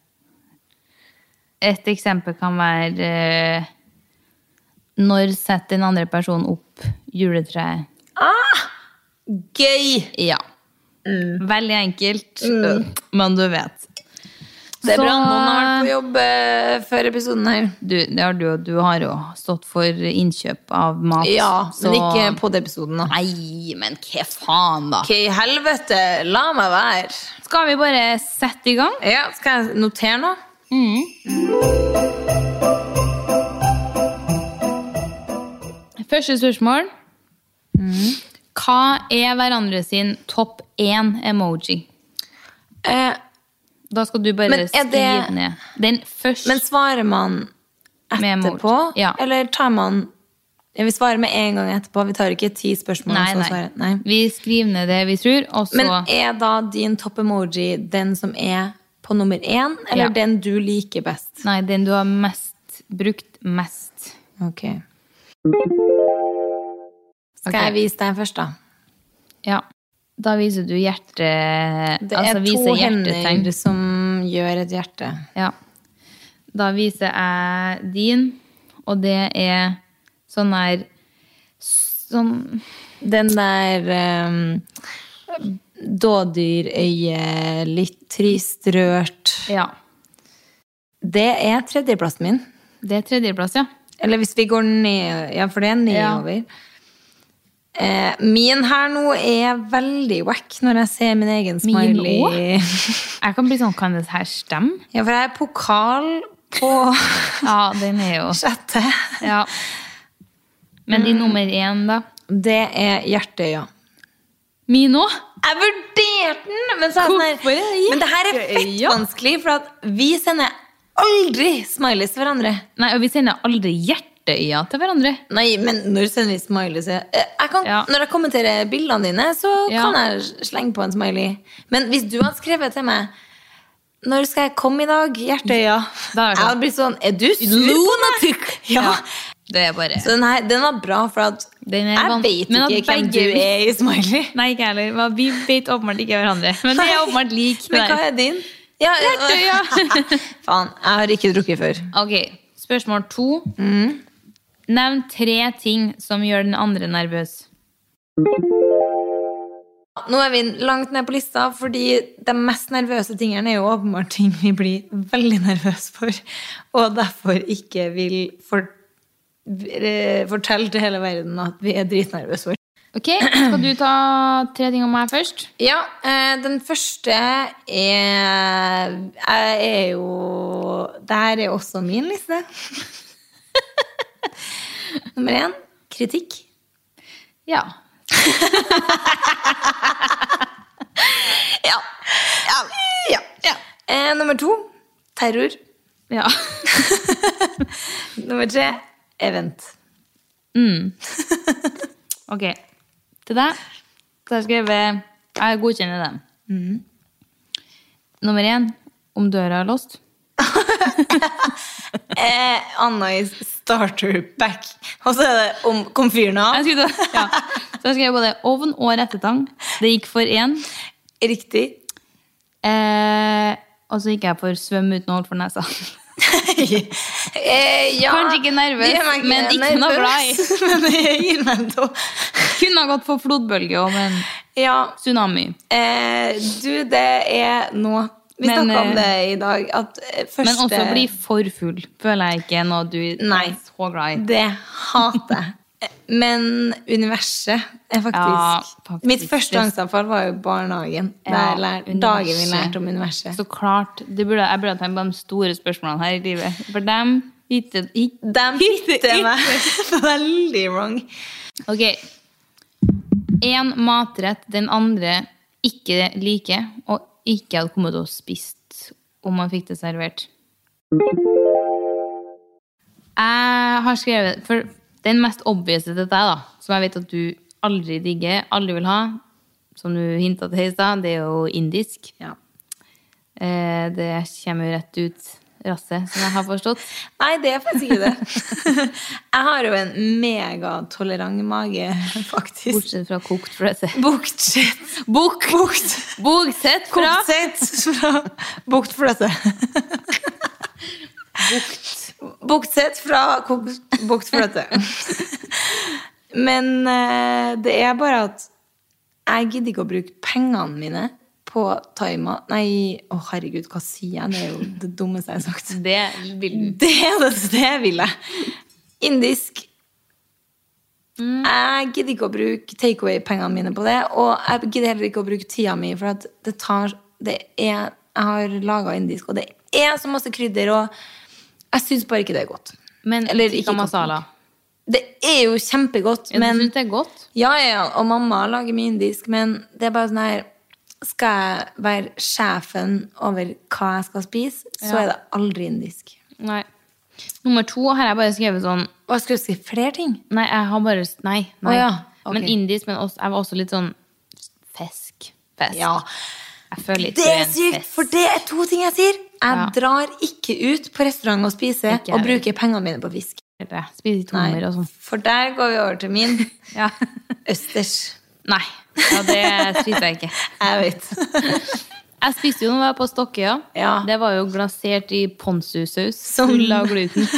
Speaker 5: Et eksempel kan være eh, Når setter den andre personen opp juletreet?
Speaker 2: Gøy!
Speaker 5: Ja.
Speaker 2: Mm.
Speaker 5: Veldig enkelt, men du vet.
Speaker 2: Det er
Speaker 5: Så-
Speaker 2: bra. Noen har vært på jobb eh, før episoden her.
Speaker 5: Du, det har du, og du har jo stått for innkjøp av mat.
Speaker 2: Ja,
Speaker 5: så-
Speaker 2: men ikke på den episoden, da.
Speaker 5: Nei, men hva faen, da?
Speaker 2: Ok, helvete. La meg være.
Speaker 5: Skal vi bare sette i gang?
Speaker 2: Ja, Skal jeg notere nå?
Speaker 5: Første spørsmål.
Speaker 2: Mm.
Speaker 5: Hva er hverandre sin topp én emoji?
Speaker 2: Eh,
Speaker 5: Da skal du
Speaker 2: Men
Speaker 5: bare
Speaker 2: er
Speaker 5: skrive
Speaker 2: det-
Speaker 5: ned. Den første
Speaker 2: men svarer man
Speaker 5: med emoji.
Speaker 2: etterpå?
Speaker 5: Ja.
Speaker 2: Eller tar man ja, Vi svarer med en gang etterpå. Vi tar ikke ti spørsmål.
Speaker 5: Nei,
Speaker 2: og så
Speaker 5: nei.
Speaker 2: svarer- nei.
Speaker 5: Vi skriver ned det vi tror, og så
Speaker 2: Men er da din topp-emoji den som er på nummer én, eller
Speaker 5: Ja.
Speaker 2: den du liker best?
Speaker 5: Nei, den du har mest brukt mest.
Speaker 2: Ok. Skal jeg vise deg først, da?
Speaker 5: Ja. Da viser du hjerte...
Speaker 2: Det
Speaker 5: altså,
Speaker 2: er
Speaker 5: viser
Speaker 2: to
Speaker 5: hjertetegn.
Speaker 2: hender som gjør et hjerte.
Speaker 5: Ja. Da viser jeg din, og det er sånn her Sånn
Speaker 2: Den der um, dådyrøye, litt trist, rørt
Speaker 5: Ja.
Speaker 2: Det er tredjeplassen min.
Speaker 5: Det er tredjeplass, ja.
Speaker 2: Eller hvis vi går ned Ja, for det er nedover. Eh, min her nå er veldig wack når jeg ser min egen
Speaker 5: Min
Speaker 2: smiley.
Speaker 5: Jeg kan bli sånn Kan det her stemme?
Speaker 2: Ja, for jeg er pokal på
Speaker 5: Ja, den er jo
Speaker 2: sjette.
Speaker 5: Ja. Men din nummer én, da?
Speaker 2: Det er hjerteøya.
Speaker 5: Min òg?
Speaker 2: Jeg vurderte den! Men, så er jeg sånn her,
Speaker 5: Hvorfor er det
Speaker 2: men det her er fett
Speaker 5: hjerteøya?
Speaker 2: vanskelig, for at vi sender aldri smileys til hverandre.
Speaker 5: Nei, og vi sender aldri hjerteøyne til hverandre.
Speaker 2: Nei, men når sender vi smileys? Jeg jeg kan,
Speaker 5: Ja.
Speaker 2: Når jeg kommenterer bildene dine, så
Speaker 5: Ja.
Speaker 2: kan jeg slenge på en smiley. Men hvis du hadde skrevet til meg når skal jeg komme i dag? Hjerteøya.
Speaker 5: Da er det-
Speaker 2: Jeg hadde blitt sånn Er du lunatic? Ja.
Speaker 5: Det er bare
Speaker 2: Så den, her, den var bra, for at
Speaker 5: Den er
Speaker 2: jeg
Speaker 5: van-
Speaker 2: vet
Speaker 5: Men at
Speaker 2: ikke hvem du
Speaker 5: begge-
Speaker 2: er i smiley.
Speaker 5: Nei, ikke jeg heller. Hva- Vi vet åpenbart ikke hverandre. Men det er åpenbart lik.
Speaker 2: Men hva
Speaker 5: der.
Speaker 2: er din? Ja,
Speaker 5: Hjerteøya.
Speaker 2: Faen, jeg har ikke drukket før.
Speaker 5: Ok, spørsmål to. Mm. Nevn tre ting som gjør den andre nervøs.
Speaker 2: Nå er vi langt ned på lista, fordi de mest nervøse tingene er jo åpenbart ting vi blir veldig nervøse for, og derfor ikke vil for, eh, fortelle til hele verden at vi er dritnervøse for.
Speaker 5: Ok, Skal du ta tre ting om meg først?
Speaker 2: Ja, eh, den første er Jeg er jo Det her er også min liste. Nummer én kritikk.
Speaker 5: Ja.
Speaker 2: Ja. ja. Eh, nummer to terror.
Speaker 5: ja.
Speaker 2: Nummer tre event.
Speaker 5: Ok. Til deg så har jeg skrevet Jeg godkjenner den. Mm. Nummer én om døra er låst.
Speaker 2: Eh, Anna i starter back. Og så er det om kom fyren av.
Speaker 5: Jeg skulle ta, ja. Så jeg skrev både ovn og rettetang. Det gikk for én.
Speaker 2: Riktig.
Speaker 5: Eh, og så gikk jeg for svøm uten å holde for nesa.
Speaker 2: Eh, ja,
Speaker 5: Kanskje ikke nervøs,
Speaker 2: det gjør meg
Speaker 5: men ikke noe
Speaker 2: nervøs, Men jeg gir meg en to.
Speaker 5: Kunne ha gått for flodbølge og en
Speaker 2: Ja,
Speaker 5: tsunami.
Speaker 2: eh, du, det er nå Vi
Speaker 5: Men,
Speaker 2: snakka om
Speaker 5: eh,
Speaker 2: det i dag. At eh, første
Speaker 5: Men også bli for full føler jeg ikke når du
Speaker 2: Nei.
Speaker 5: er så glad i.
Speaker 2: Det hater jeg. Eh, Men universet er faktisk,
Speaker 5: Ja, faktisk.
Speaker 2: Mitt første angstanfall var jo barnehagen.
Speaker 5: Ja,
Speaker 2: der lær,
Speaker 5: universet.
Speaker 2: dagen vi lærte om universet.
Speaker 5: Så klart, det burde, Jeg burde ha tenkt på de store spørsmålene her i livet. For dem ikke, ikke.
Speaker 2: de bytter meg veldig wrong.
Speaker 5: Ok. Én matrett den andre ikke liker, og ikke hadde kommet til å spist om man fikk det servert. Jeg har skrevet For den mest obvious til deg, da, som jeg vet at du aldri digger, aldri vil ha, som du hinta til i stad, det er jo indisk. Eh, det kommer jo rett ut rasset, som jeg har forstått.
Speaker 2: Nei, det er faktisk ikke det. Jeg har jo en megatolerant mage, faktisk.
Speaker 5: Bortsett fra kokt fløte.
Speaker 2: Bortsett
Speaker 5: Bok!
Speaker 2: Bukt.
Speaker 5: Boksett fra
Speaker 2: Bortsett fra Bukt fløte. Bortsett fra kokt- bukt fløte. Men eh, det er bare at jeg gidder ikke å bruke pengene mine på timer. Nei, å herregud, hva sier jeg? Det er jo det dummeste jeg har sagt.
Speaker 5: Det vil du.
Speaker 2: Mm. Det er det, det vil jeg. Indisk.
Speaker 5: Mm.
Speaker 2: Jeg gidder ikke å bruke takeaway-pengene mine på det. Og jeg gidder heller ikke å bruke tida mi, for at det tar det er, Jeg har laga indisk, og det er så masse krydder, og jeg syns bare ikke det er godt.
Speaker 5: Men
Speaker 2: Eller
Speaker 5: tikka
Speaker 2: ikke godt
Speaker 5: masala.
Speaker 2: nok. Det er jo kjempegodt,
Speaker 5: Men,
Speaker 2: men
Speaker 5: du syns det er godt?
Speaker 2: ja, ja, ja, og mamma lager mye indisk, men det er bare sånn her Skal jeg være sjefen over hva jeg skal spise, så er det aldri indisk.
Speaker 5: Nei. Nummer to har jeg bare skrevet sånn
Speaker 2: Og jeg skulle ønske flere ting.
Speaker 5: Nei, jeg har bare Nei. nei.
Speaker 2: Å ja, ok.
Speaker 5: Men indisk. Men også, jeg var også litt sånn fisk. Fisk.
Speaker 2: Ja.
Speaker 5: Jeg føler litt
Speaker 2: Det
Speaker 5: du
Speaker 2: er
Speaker 5: en
Speaker 2: sykt,
Speaker 5: fisk.
Speaker 2: for det er to ting jeg sier. Jeg
Speaker 5: Ja.
Speaker 2: drar ikke ut på restaurant og spiser
Speaker 5: Ikke jeg
Speaker 2: og bruker pengene mine på fisk.
Speaker 5: Spiser ikke hummer og sånn.
Speaker 2: For der går vi over til min
Speaker 5: Ja.
Speaker 2: østers.
Speaker 5: Nei. Ja, det spiser jeg ikke.
Speaker 2: Jeg vet.
Speaker 5: Jeg spiste jo når jeg var på Stokkøya.
Speaker 2: Ja.
Speaker 5: Det var jo glasert i ponzu-saus.
Speaker 2: Som-
Speaker 5: Full av gluten.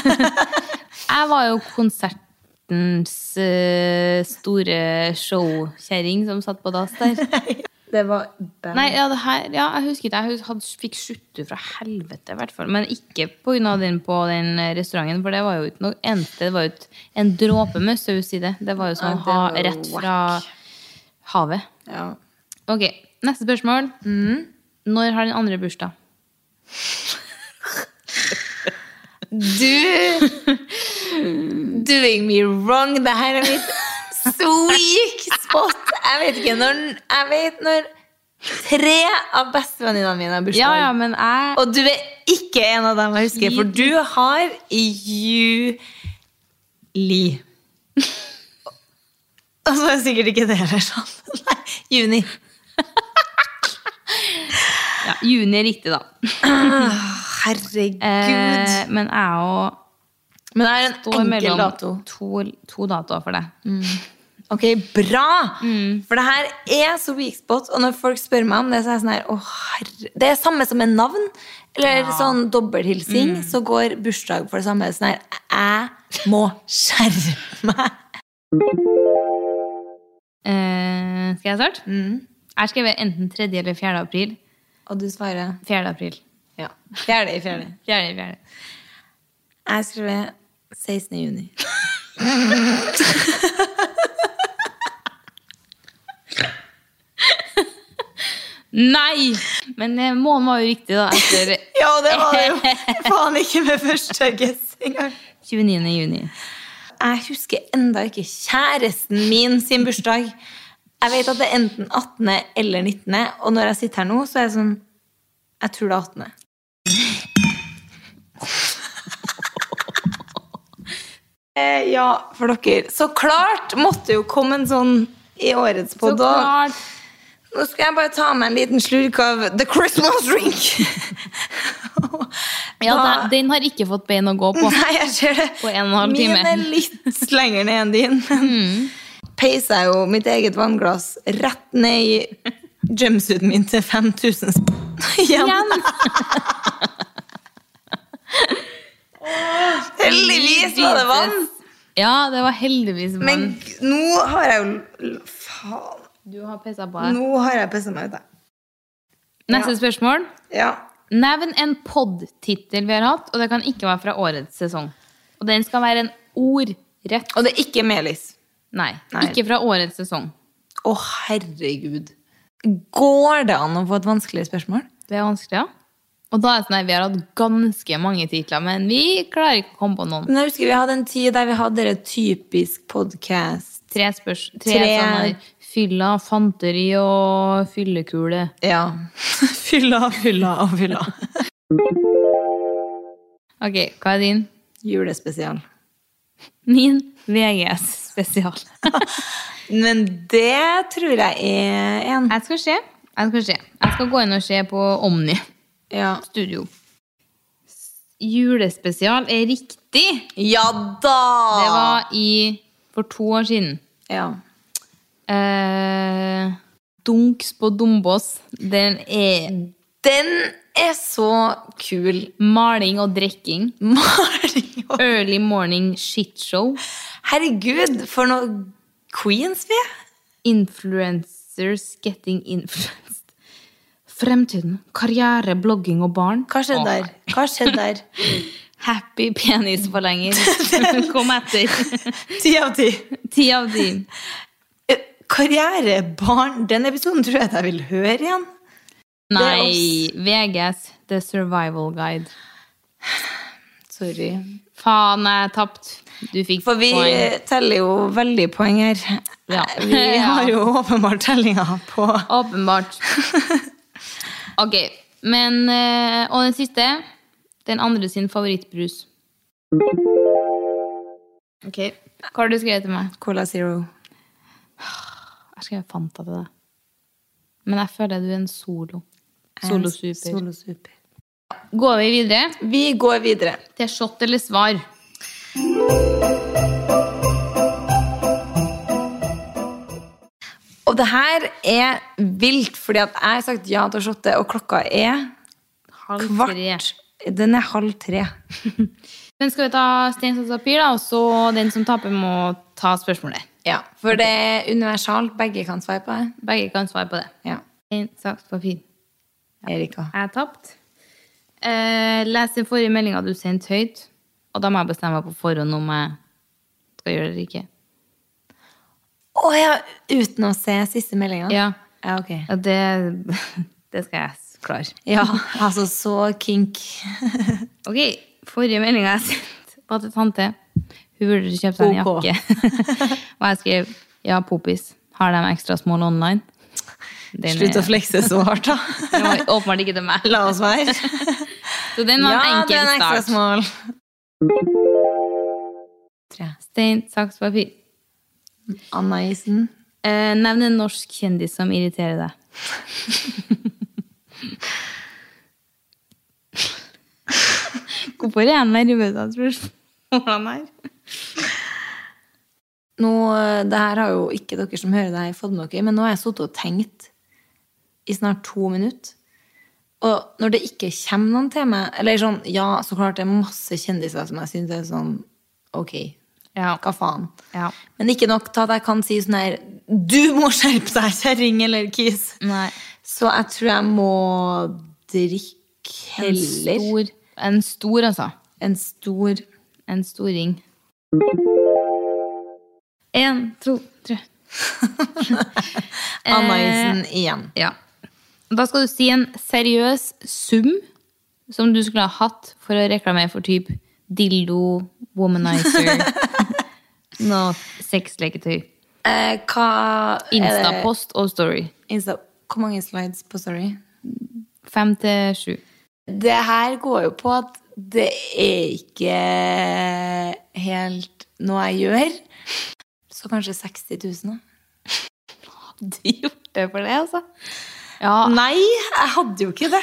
Speaker 5: jeg var jo konsertens eh, store showkjerring som satt på dass der.
Speaker 2: Det var bam.
Speaker 5: Nei, ja, det her, ja, jeg husker ikke. Jeg hus- hadde, fikk skjutte fra helvete, i hvert fall. Men ikke på grunn av den på den eh, restauranten, for det var jo ikke noe endte. Det var jo et, en dråpe med saus i det. Det var jo sånn
Speaker 2: det
Speaker 5: ha,
Speaker 2: var jo
Speaker 5: rett fra havet.
Speaker 2: Ja.
Speaker 5: Ok, neste spørsmål.
Speaker 2: Mm.
Speaker 5: Når har den andre bursdag?
Speaker 2: Du Doing me wrong. Det her er mitt sweet spot. Jeg vet ikke når Jeg vet når tre av bestevenninnene mine har bursdag.
Speaker 5: Ja, ja, men jeg
Speaker 2: Og du er ikke en av dem jeg husker, for du har juli. Og så er sikkert ikke det heller sånn. Nei, juni.
Speaker 5: ja, Juni er riktig, da.
Speaker 2: Herregud.
Speaker 5: Eh, men jeg òg
Speaker 2: Men det er en
Speaker 5: står
Speaker 2: enkel
Speaker 5: mellom
Speaker 2: dato.
Speaker 5: To, to datoer for deg.
Speaker 2: Ok, bra! For det her er så weak spot, og når folk spør meg om det, så er jeg sånn her Å, herre Det er samme som en navn, eller sånn dobbelthilsing, så går bursdag for det samme. Sånn her Jeg må skjerme meg.
Speaker 5: Eh, skal jeg starte?
Speaker 2: Mm.
Speaker 5: Jeg skrev enten 3. eller 4. april.
Speaker 2: Og du svarer
Speaker 5: 4. april.
Speaker 2: Ja. Fjerde i fjerde.
Speaker 5: 4. april.
Speaker 2: Jeg skrev 16. juni.
Speaker 5: Nei! Men eh, månen var jo riktig, da. Etter
Speaker 2: Ja, det var det jo faen ikke med første guess engang.
Speaker 5: 29. juni.
Speaker 2: Jeg husker enda ikke kjæresten min sin bursdag. Jeg vet at det er enten 18. eller 19., og når jeg sitter her nå, så er jeg sånn Jeg tror det er 18. Eh, Ja, for dere. Så klart måtte jo komme en sånn i årets
Speaker 5: Så
Speaker 2: podd også.
Speaker 5: klart!
Speaker 2: Nå skal jeg bare ta meg en liten slurk av The Christmas Drink.
Speaker 5: Ja,
Speaker 2: Da-
Speaker 5: den, den har ikke fått bein å gå på.
Speaker 2: Nei, jeg ser det.
Speaker 5: På en og en halv time. Mm.
Speaker 2: Min er litt lenger ned enn din. men Peisa jeg jo mitt eget vannglass rett ned i jumpsuiten min til 5000 sp- igjen.
Speaker 5: Igjen!
Speaker 2: Heldigvis var det vann!
Speaker 5: Ja, det var heldigvis vann.
Speaker 2: Men g- nå har jeg jo l- Faen.
Speaker 5: du har pissa på deg.
Speaker 2: Nå har jeg pissa meg ut, jeg.
Speaker 5: Neste spørsmål.
Speaker 2: Ja.
Speaker 5: Nevn en pod-tittel vi har hatt, og det kan ikke være fra årets sesong. Og den skal være en ordrett.
Speaker 2: Og det er ikke melis.
Speaker 5: Nei,
Speaker 2: Nei.
Speaker 5: ikke fra årets sesong.
Speaker 2: Å, herregud. Går det an å få et vanskeligere spørsmål?
Speaker 5: Det er vanskelig, ja. Og da er det sånn at vi har hatt ganske mange titler, men vi klarer ikke å komme på noen.
Speaker 2: Men jeg husker Vi hadde en tid der vi hadde det typisk podkast.
Speaker 5: Tre spørs... Tre,
Speaker 2: Tre-
Speaker 5: sånne fylla, fanteri og fyllekule.
Speaker 2: Ja. fylla, fylla og fylla.
Speaker 5: Ok, hva er din?
Speaker 2: Julespesial.
Speaker 5: Min VGS-spesial.
Speaker 2: Men det tror jeg er en.
Speaker 5: Jeg skal se. Jeg skal se. Jeg skal gå inn og se på Omni
Speaker 2: Ja,
Speaker 5: Studio. Julespesial er riktig!
Speaker 2: ja
Speaker 5: Det
Speaker 2: da!
Speaker 5: var i For to år siden.
Speaker 2: Ja.
Speaker 5: Eh, dunks på Dombås. Den er
Speaker 2: Den er så kul.
Speaker 5: maling og drikking.
Speaker 2: Mario.
Speaker 5: Early morning shitshow.
Speaker 2: Herregud, for noe queens vi er.
Speaker 5: Influencers getting influenced. Fremtiden. Karriere, blogging og barn.
Speaker 2: Hva skjedde
Speaker 5: Å,
Speaker 2: der? Hva skjedde der?
Speaker 5: Happy penisforlenger. Kom etter.
Speaker 2: Ti av ti.
Speaker 5: Ti av ti.
Speaker 2: Eh, Karrierebarn. Den episoden tror jeg jeg vil høre igjen.
Speaker 5: Nei. VGS, The Survival Guide.
Speaker 2: Sorry.
Speaker 5: Faen, jeg tapte. Du fikk
Speaker 2: For vi
Speaker 5: poeng.
Speaker 2: teller jo veldig poeng her.
Speaker 5: Ja.
Speaker 2: Vi har jo åpenbart tellinga på
Speaker 5: Åpenbart. Ok, men eh, Og den siste. Den andre sin favorittbrus. Ok, Hva har du skrevet til meg?
Speaker 2: Cola Zero.
Speaker 5: Jeg skrev Fanta til deg. Men jeg føler du er en solo. Solosuper.
Speaker 2: Solo super.
Speaker 5: Går vi videre
Speaker 2: Vi går videre.
Speaker 5: til shot eller svar?
Speaker 2: Og det her er vilt, fordi at jeg har sagt ja til å shotte, og klokka er
Speaker 5: Halv tre.
Speaker 2: kvart. Den er halv tre.
Speaker 5: Men skal vi ta stein, saks, papir, da? Og så den som taper, må ta spørsmålet.
Speaker 2: Ja, For det er universalt. Begge kan svare på det.
Speaker 5: Begge kan svare på det.
Speaker 2: Ja.
Speaker 5: Stein, saks, papir.
Speaker 2: Erika.
Speaker 5: Jeg har tapt. Eh, les den forrige meldinga du sendte høyt, og da må jeg bestemme meg på forhånd om jeg skal gjøre det eller ikke.
Speaker 2: Å ja! Uten å se siste meldinga?
Speaker 5: Ja,
Speaker 2: ja, ok.
Speaker 5: ja det, det skal jeg klare.
Speaker 2: Ja, altså så kink.
Speaker 5: Ok, forrige meldinga jeg sendte, var til tante. Hun burde kjøpe seg en
Speaker 2: Ok.
Speaker 5: jakke. og jeg skrev ja, popis. Har de ekstra small online? Den
Speaker 2: Slutt å
Speaker 5: er-
Speaker 2: flekse så hardt, da.
Speaker 5: Den var åpenbart ikke til meg.
Speaker 2: La oss være.
Speaker 5: Så den var en enkel
Speaker 2: den er ekstra
Speaker 5: start.
Speaker 2: smal.
Speaker 5: Stein, saks, papir.
Speaker 2: Anna Isen.
Speaker 5: Eh, nevn en norsk kjendis som irriterer deg. Hvorfor er jeg nervøs av spørsmålene her?
Speaker 2: Nå, eh, det her har jo ikke dere som hører det her, fått med dere, men nå har jeg sittet og tenkt i snart to minutter. Og når det ikke kommer noen til meg Eller sånn, ja, så klart det er masse kjendiser som jeg syns er sånn Ok,
Speaker 5: Ja.
Speaker 2: hva faen?
Speaker 5: Ja.
Speaker 2: Men ikke nok til at jeg kan si sånn her Du må skjerpe deg, kjerring eller kis!
Speaker 5: Nei.
Speaker 2: Så jeg tror jeg må drikke
Speaker 5: En
Speaker 2: heller en stor,
Speaker 5: stor, en stor, altså. En storing. Én, to, tre.
Speaker 2: Anna Isen
Speaker 5: Eh,
Speaker 2: igjen.
Speaker 5: Ja. Da skal du si en seriøs sum som du skulle ha hatt for å reklamere for typ dildo, womanizer, noe sexleketøy.
Speaker 2: Eh, hva er det?
Speaker 5: Instapost og story.
Speaker 2: Insta Hvor mange slides på Story?
Speaker 5: Fem til sju.
Speaker 2: Det her går jo på at det er ikke helt noe jeg gjør. Så kanskje 60 000, da?
Speaker 5: Du gjort det for det, altså? Ja.
Speaker 2: Ah. Nei, jeg hadde jo ikke det.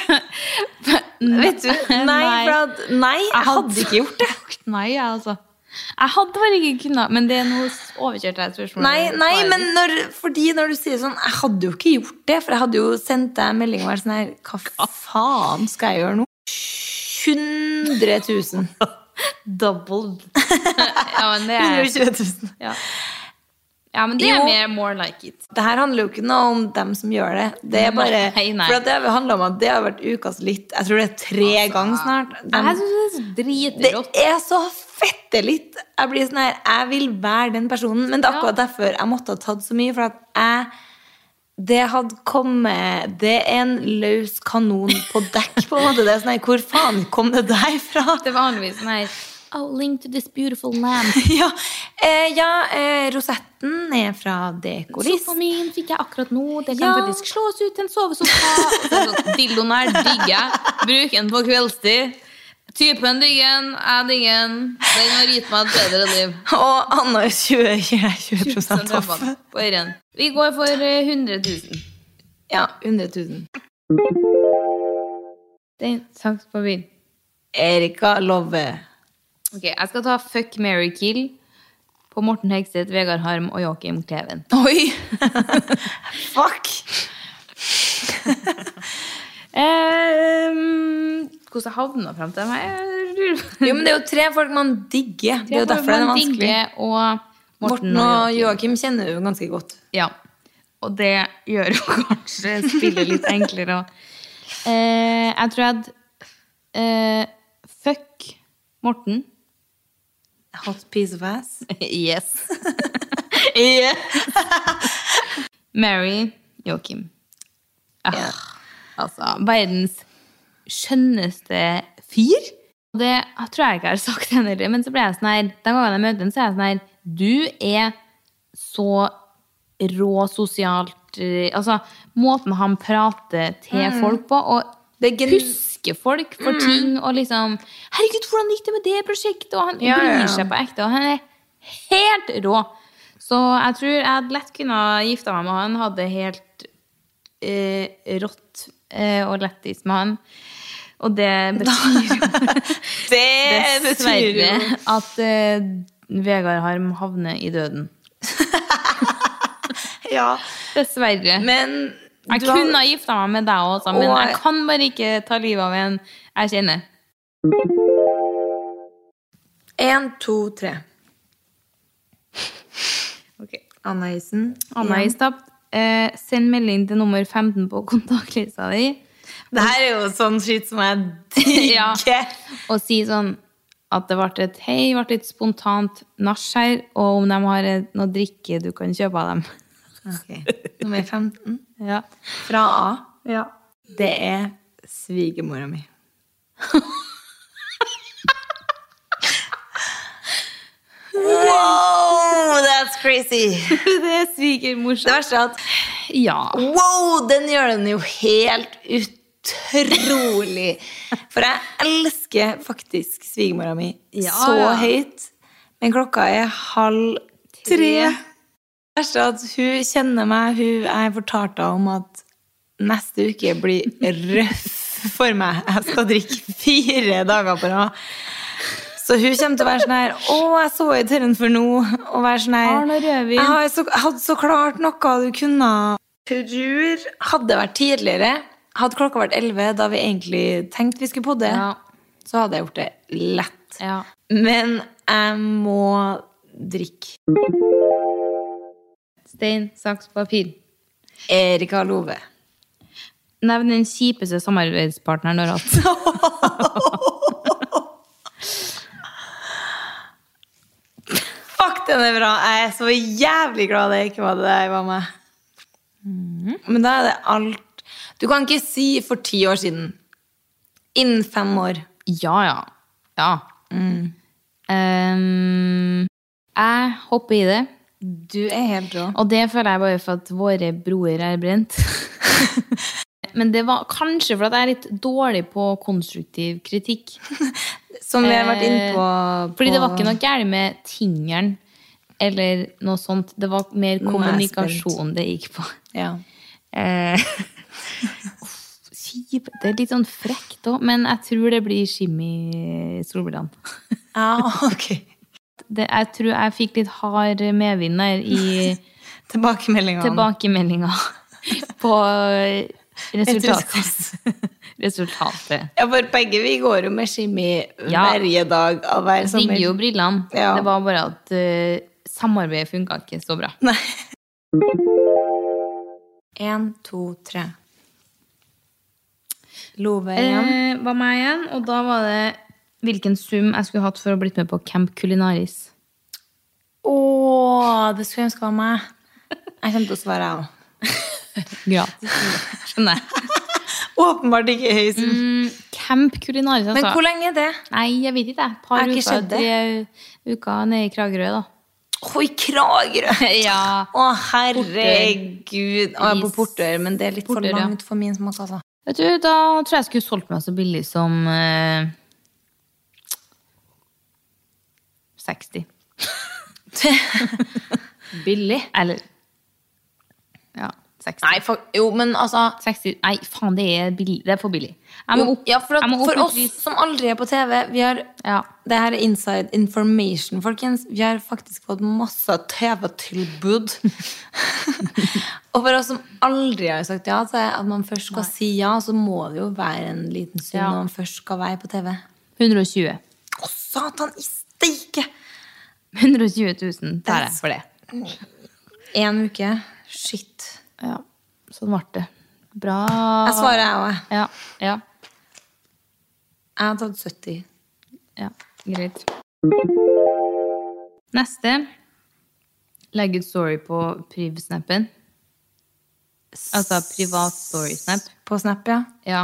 Speaker 2: Vet du? Nei,
Speaker 5: Nei.
Speaker 2: for at, nei jeg hadde ikke gjort det.
Speaker 5: Nei, jeg, altså. Jeg hadde bare ikke kunnet, men det er noe s- overkjørt her spørsmålet.
Speaker 2: Nei, nei
Speaker 5: Svaret.
Speaker 2: men når, fordi når du sier sånn Jeg hadde jo ikke gjort det, for jeg hadde jo sendt deg en melding og vært sånn her Hva faen skal jeg gjøre nå? 100 000.
Speaker 5: Doubled. ja, men det er...
Speaker 2: 120 000.
Speaker 5: Ja. Ja, men det er
Speaker 2: Jo.
Speaker 5: mer more like it.
Speaker 2: Det her handler jo ikke noe om dem som gjør det. Det er bare,
Speaker 5: Nei, nei.
Speaker 2: For at det har handlet om at det har vært ukas litt Jeg tror det er tre ganger snart. Dem-
Speaker 5: Jeg syns det er så
Speaker 2: det
Speaker 5: dritrått.
Speaker 2: er så fette litt! Jeg blir sånn her, jeg vil være den personen. Men det er akkurat derfor jeg måtte ha tatt så mye. For at jeg Det hadde kommet Det er en løs kanon på dekk, på en måte. Det er sånn her, Hvor faen kom det der fra?
Speaker 5: Det er vanligvis sånn her Oh, link to this beautiful lamp.
Speaker 2: Ja, eh, ja eh, rosetten er fra Dekoris.
Speaker 5: Sofaen min fikk jeg akkurat nå. Det kan
Speaker 2: Ja.
Speaker 5: faktisk slås ut til en sovesofa. Og så er det sånn, Dildoen her digger jeg. Bruk den på kveldstid. Typen digger den. Jeg digger den. Den har gitt meg et bedre liv.
Speaker 2: Og Anna er 20, 20, 20 off.
Speaker 5: Rabatt på øren. Vi går for eh, 100 000.
Speaker 2: Ja, 100 000.
Speaker 5: Den, saks, papir.
Speaker 2: Erika Love.
Speaker 5: Ok, jeg skal ta Fuck, Mary Kill på Morten Hegseth, Vegard Harm og Joakim Kleven.
Speaker 2: Oi! Fuck!
Speaker 5: Um, hvordan jeg havna frem til dem her?
Speaker 2: Ehm, Jo, men det er jo tre folk man digger. Det er jo derfor det er vanskelig.
Speaker 5: Og Morten,
Speaker 2: Morten og Joakim kjenner jo ganske godt.
Speaker 5: Ja. Og det gjør jo kanskje spillet litt enklere òg. Eh, jeg tror jeg hadde eh, Fuck Morten.
Speaker 2: Hot piece of ass.
Speaker 5: Yes. yes. Mary Joakim. Ah,
Speaker 2: Ja.
Speaker 5: Altså, verdens skjønneste fyr. Og Det tror jeg ikke jeg har sagt henne heller, men så ble jeg sånn her, den gangen jeg møter henne, så er jeg sånn her, du er så rå sosialt, eh, altså, måten han prater til folk på, og
Speaker 2: Mm. Det er gen- Mm.
Speaker 5: husker folk for ting, og liksom, herregud, hvordan gikk det med det prosjektet, og han
Speaker 2: Ja, ja, ja.
Speaker 5: bryr seg på ekte, og han er helt rå. Så jeg tror jeg hadde lett kunne ha gifta meg med han, hadde helt eh, rått eh, og lættis med han. Og det betyr jo
Speaker 2: Det betyr
Speaker 5: dessverre
Speaker 2: jo
Speaker 5: at eh, Vegard Harm havner i døden.
Speaker 2: Ja,
Speaker 5: Dessverre.
Speaker 2: men
Speaker 5: jeg
Speaker 2: du har-
Speaker 5: kunne ha gifta meg med deg også, men
Speaker 2: Og-
Speaker 5: jeg kan bare ikke ta livet av en jeg kjenner.
Speaker 2: En, to, tre. Anna Isen.
Speaker 5: Anna
Speaker 2: Ja.
Speaker 5: ja. Istapt, eh, send melding til nummer 15 på kontaktlista di
Speaker 2: Det her er jo sånn skitt som jeg digger.
Speaker 5: Ja. og si sånn at det ble et hei, ble litt spontant nach her, og om de har eh, noe drikke du kan kjøpe av dem.
Speaker 2: Ok, Nummer 15.
Speaker 5: Ja.
Speaker 2: Fra A. Det er svigermora mi. wow, that's crazy!
Speaker 5: Det er
Speaker 2: Det
Speaker 5: svigermorsomt.
Speaker 2: verste er at
Speaker 5: Ja.
Speaker 2: wow, den gjør den jo helt utrolig. For jeg elsker faktisk svigermora mi
Speaker 5: Ja,
Speaker 2: så
Speaker 5: ja.
Speaker 2: høyt, men klokka er halv tre.
Speaker 5: Tre.
Speaker 2: Det verste er at hun kjenner meg, hun jeg fortalte henne om at neste uke blir røff for meg. Jeg skal drikke fire dager på rad. Så hun kommer til å være sånn her Å, jeg så i tørren for nå. Og være sånn her
Speaker 5: Arne Rødvin.
Speaker 2: Jeg har så, jeg hadde så klart noe du kunne Tror Hadde det vært tidligere, hadde klokka vært elleve, da vi egentlig tenkte vi skulle podde,
Speaker 5: Ja.
Speaker 2: så hadde jeg gjort det lett.
Speaker 5: ja.
Speaker 2: Men jeg må drikke.
Speaker 5: Stein, saks, papir.
Speaker 2: Erika Love.
Speaker 5: Nevn den kjipeste samarbeidspartneren du har hatt.
Speaker 2: Fuck, den er bra! Jeg er så jævlig glad det ikke var det der var meg. Men da er det alt Du kan ikke si for ti år siden. Innen fem år.
Speaker 5: Ja, ja. Ja.
Speaker 2: Mm.
Speaker 5: Ehm, jeg hopper i det,
Speaker 2: Du er helt rå.
Speaker 5: og det føler jeg bare for at våre broer er brent. Men det var kanskje for at jeg er litt dårlig på konstruktiv kritikk.
Speaker 2: Som vi har vært inne på,
Speaker 5: Eh, Fordi det var ikke noe gærent med tingeren eller noe sånt. Det var
Speaker 2: er
Speaker 5: mer
Speaker 2: jeg
Speaker 5: kommunikasjon det gikk på.
Speaker 2: Ja.
Speaker 5: Eh, uff, Kjip. Det er litt sånn frekt òg, men jeg tror det blir Shimmy Solbrand.
Speaker 2: ja, Ah, ok.
Speaker 5: Det, jeg tror jeg fikk litt hard medvind der i
Speaker 2: Tilbakemeldingene.
Speaker 5: tilbakemeldinga på eh, resultatet.
Speaker 2: Entusiast.
Speaker 5: resultatet.
Speaker 2: Ja, for begge vi går jo med Shimmy
Speaker 5: Ja.
Speaker 2: hver dag av hver
Speaker 5: Digger jo
Speaker 2: sommer.
Speaker 5: brillene.
Speaker 2: Ja.
Speaker 5: Det var bare at eh, samarbeidet funka ikke så bra.
Speaker 2: Nei. En, to, tre. Love igjen.
Speaker 5: Eh, var meg igjen, og da var det hvilken sum jeg skulle hatt for å blitt med på Camp Culinaris.
Speaker 2: Å, det skulle jeg ønske var meg. Jeg kommer til å svare, jeg òg.
Speaker 5: Gratis. Skjønner jeg.
Speaker 2: Åpenbart ikke høy sum.
Speaker 5: Camp Culinaris, Mm, altså.
Speaker 2: Men hvor lenge er det?
Speaker 5: Nei, jeg vet ikke. Et par
Speaker 2: Er ikke
Speaker 5: uker,
Speaker 2: skjedd
Speaker 5: tre uker nede i Kragerø, da.
Speaker 2: Å, i Kragerø!
Speaker 5: ja.
Speaker 2: Å, herregud. Å, jeg bor
Speaker 5: Is-
Speaker 2: Portør, men det er litt for
Speaker 5: Portør, ja.
Speaker 2: langt for min smak, altså.
Speaker 5: Vet du, da tror jeg jeg skulle solgt meg så billig som eh, 60. billig? Eller Ja, 60.
Speaker 2: Nei, for, jo, men altså
Speaker 5: 60. Nei, faen, det er, billig. Det er for billig. Jeg må
Speaker 2: jo,
Speaker 5: opp,
Speaker 2: ja, for, at,
Speaker 5: jeg må opp
Speaker 2: for
Speaker 5: i
Speaker 2: oss
Speaker 5: pris.
Speaker 2: som aldri er på TV, vi har
Speaker 5: Ja.
Speaker 2: Det her er inside information, folkens. Vi har faktisk fått masse TV-tilbud. og for oss som aldri har sagt ja til at man først skal si ja, så må det jo være en liten stund
Speaker 5: Ja.
Speaker 2: når man først skal være på TV.
Speaker 5: 120.
Speaker 2: Å, satan i steike!
Speaker 5: 120 000 tar jeg for det.
Speaker 2: Én uke. Shit.
Speaker 5: Ja, sånn ble det. Bra.
Speaker 2: Jeg svarer, jeg òg.
Speaker 5: Ja, ja,
Speaker 2: Jeg har tatt 70.
Speaker 5: ja. Greit. Neste. Legg ut story på priv-snappen. Altså privat story-snap.
Speaker 2: På Snap, ja.
Speaker 5: Ja.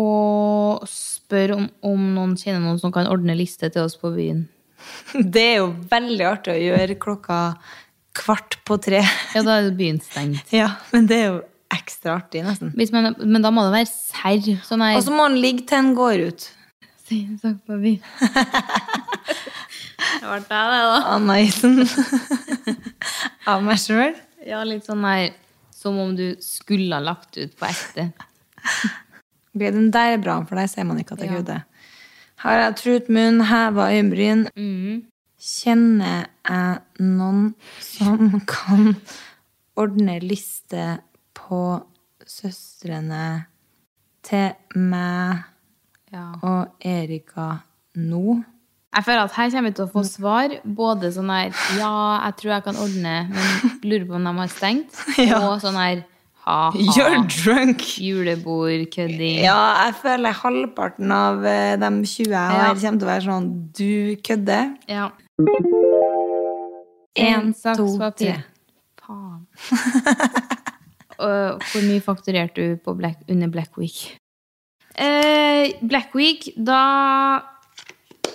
Speaker 5: Og spør om, om noen kjenner noen som kan ordne liste til oss på byen.
Speaker 2: Det er jo veldig artig å gjøre klokka kvart på tre.
Speaker 5: Ja, da er byen stengt.
Speaker 2: Ja, men det er jo ekstra artig, nesten.
Speaker 5: Hvis man, men da må det være serr. Sånn her
Speaker 2: Og så må den ligge til den går ut.
Speaker 5: Sier sak på byen. Det ble deg, det, da.
Speaker 2: Anna-isen. Av meg sjøl.
Speaker 5: Ja, litt sånn her som om du skulle ha lagt ut på ekte.
Speaker 2: Blir den der bra for deg, ser man ikke at det er
Speaker 5: Ja.
Speaker 2: gode. Har jeg trut munn, heva øyenbryn?
Speaker 5: Mm.
Speaker 2: Kjenner jeg noen som kan ordne liste på søstrene til meg og Erika nå?
Speaker 5: Jeg føler at her kommer vi til å
Speaker 2: Mm.
Speaker 5: få svar. Både sånn her Ja, jeg tror jeg kan ordne, men lurer på om de har stengt. Og sånn her
Speaker 2: You're
Speaker 5: ha-ha.
Speaker 2: drunk!
Speaker 5: Julebord, kødding.
Speaker 2: Ja, jeg føler halvparten av eh, de 20 jeg har,
Speaker 5: Ja.
Speaker 2: kommer til å være sånn Du kødder.
Speaker 5: Ja.
Speaker 2: En,
Speaker 5: En saks
Speaker 2: to, tre.
Speaker 5: papir. Faen. Og hvor mye fakturerte du på Black, under Black Week? Eh, Black Week, da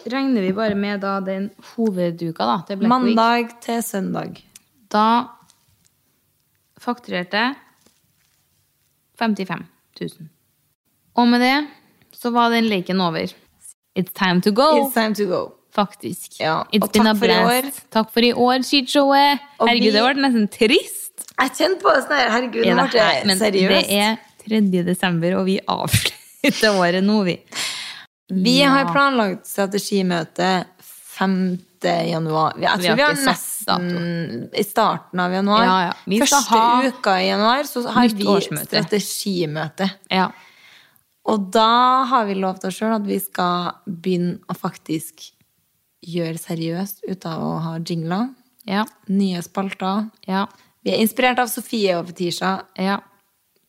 Speaker 5: regner vi bare med da den hovedduka da, til Black Week.
Speaker 2: Mandag til søndag.
Speaker 5: Da fakturerte jeg 55 000. Og med det så var den leken over. It's time to go,
Speaker 2: It's time to go.
Speaker 5: faktisk.
Speaker 2: Ja,
Speaker 5: It's
Speaker 2: og
Speaker 5: been
Speaker 2: takk
Speaker 5: a
Speaker 2: for i
Speaker 5: blast.
Speaker 2: år.
Speaker 5: Takk for i år, skishowet.
Speaker 2: Og vi-
Speaker 5: Herregud, det ble nesten trist.
Speaker 2: Jeg kjente på det sånn her, herregud,
Speaker 5: er
Speaker 2: nå
Speaker 5: det
Speaker 2: ble
Speaker 5: her.
Speaker 2: jeg
Speaker 5: Men
Speaker 2: seriøs.
Speaker 5: det er 3. desember, og vi avslutter året nå, vi.
Speaker 2: Vi har planlagt strategimøte 5. januar. Jeg
Speaker 5: Vi
Speaker 2: tror
Speaker 5: har
Speaker 2: vi har
Speaker 5: ikke satt
Speaker 2: nesten i starten av januar.
Speaker 5: Ja, ja. Vi skal
Speaker 2: Første
Speaker 5: ha
Speaker 2: uka i januar så har
Speaker 5: nytt
Speaker 2: vi
Speaker 5: årsmøte.
Speaker 2: strategimøte.
Speaker 5: Ja.
Speaker 2: Og da har vi lovt oss sjøl at vi skal begynne å faktisk gjøre seriøst ut av å ha jingler.
Speaker 5: Ja.
Speaker 2: Nye spalter.
Speaker 5: Ja.
Speaker 2: Vi er inspirert av Sofie og Fetisha.
Speaker 5: ja.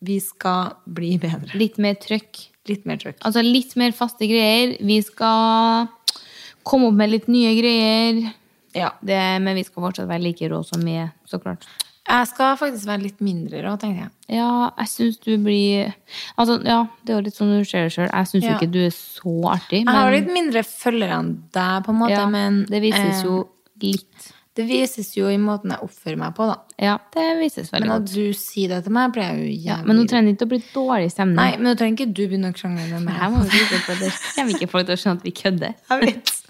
Speaker 2: Vi skal bli bedre.
Speaker 5: Litt mer trøkk.
Speaker 2: Litt mer trøkk.
Speaker 5: Altså litt mer faste greier. Vi skal komme opp med litt nye greier.
Speaker 2: Ja.
Speaker 5: Det, men vi skal fortsatt være like rå som vi er, så klart.
Speaker 2: Jeg skal faktisk være litt mindre rå, tenker jeg.
Speaker 5: Ja, jeg syns du blir Altså, ja, det er jo litt sånn du ser det sjøl. Jeg syns jo
Speaker 2: Ja.
Speaker 5: ikke du er så artig,
Speaker 2: Jeg har litt mindre følgere enn deg, på en måte,
Speaker 5: ja,
Speaker 2: men
Speaker 5: det vises
Speaker 2: eh,
Speaker 5: jo litt.
Speaker 2: Det vises jo i måten jeg oppfører meg på, da.
Speaker 5: Ja, det vises veldig
Speaker 2: Men
Speaker 5: godt.
Speaker 2: at du sier det til meg, blir jeg jo jævlig
Speaker 5: Ja, men nå trenger det ikke å bli dårlig stemning.
Speaker 2: Nei, men nå trenger ikke du begynne å krangle med
Speaker 5: Her
Speaker 2: meg.
Speaker 5: må vi vite på det. Kommer ikke folk til å skjønne at vi kødder?
Speaker 2: Jeg vet.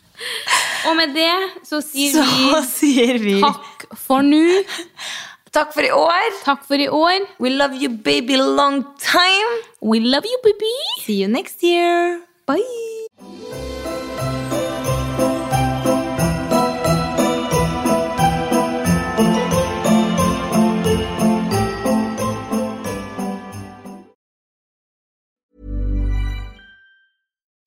Speaker 5: Og med det så sier
Speaker 2: Så
Speaker 5: vi
Speaker 2: sier vi
Speaker 5: takk for nå.
Speaker 2: takk for i år.
Speaker 5: Takk for i år.
Speaker 2: We love you, baby, long time.
Speaker 5: We love you, baby!
Speaker 2: See you next year. Bye.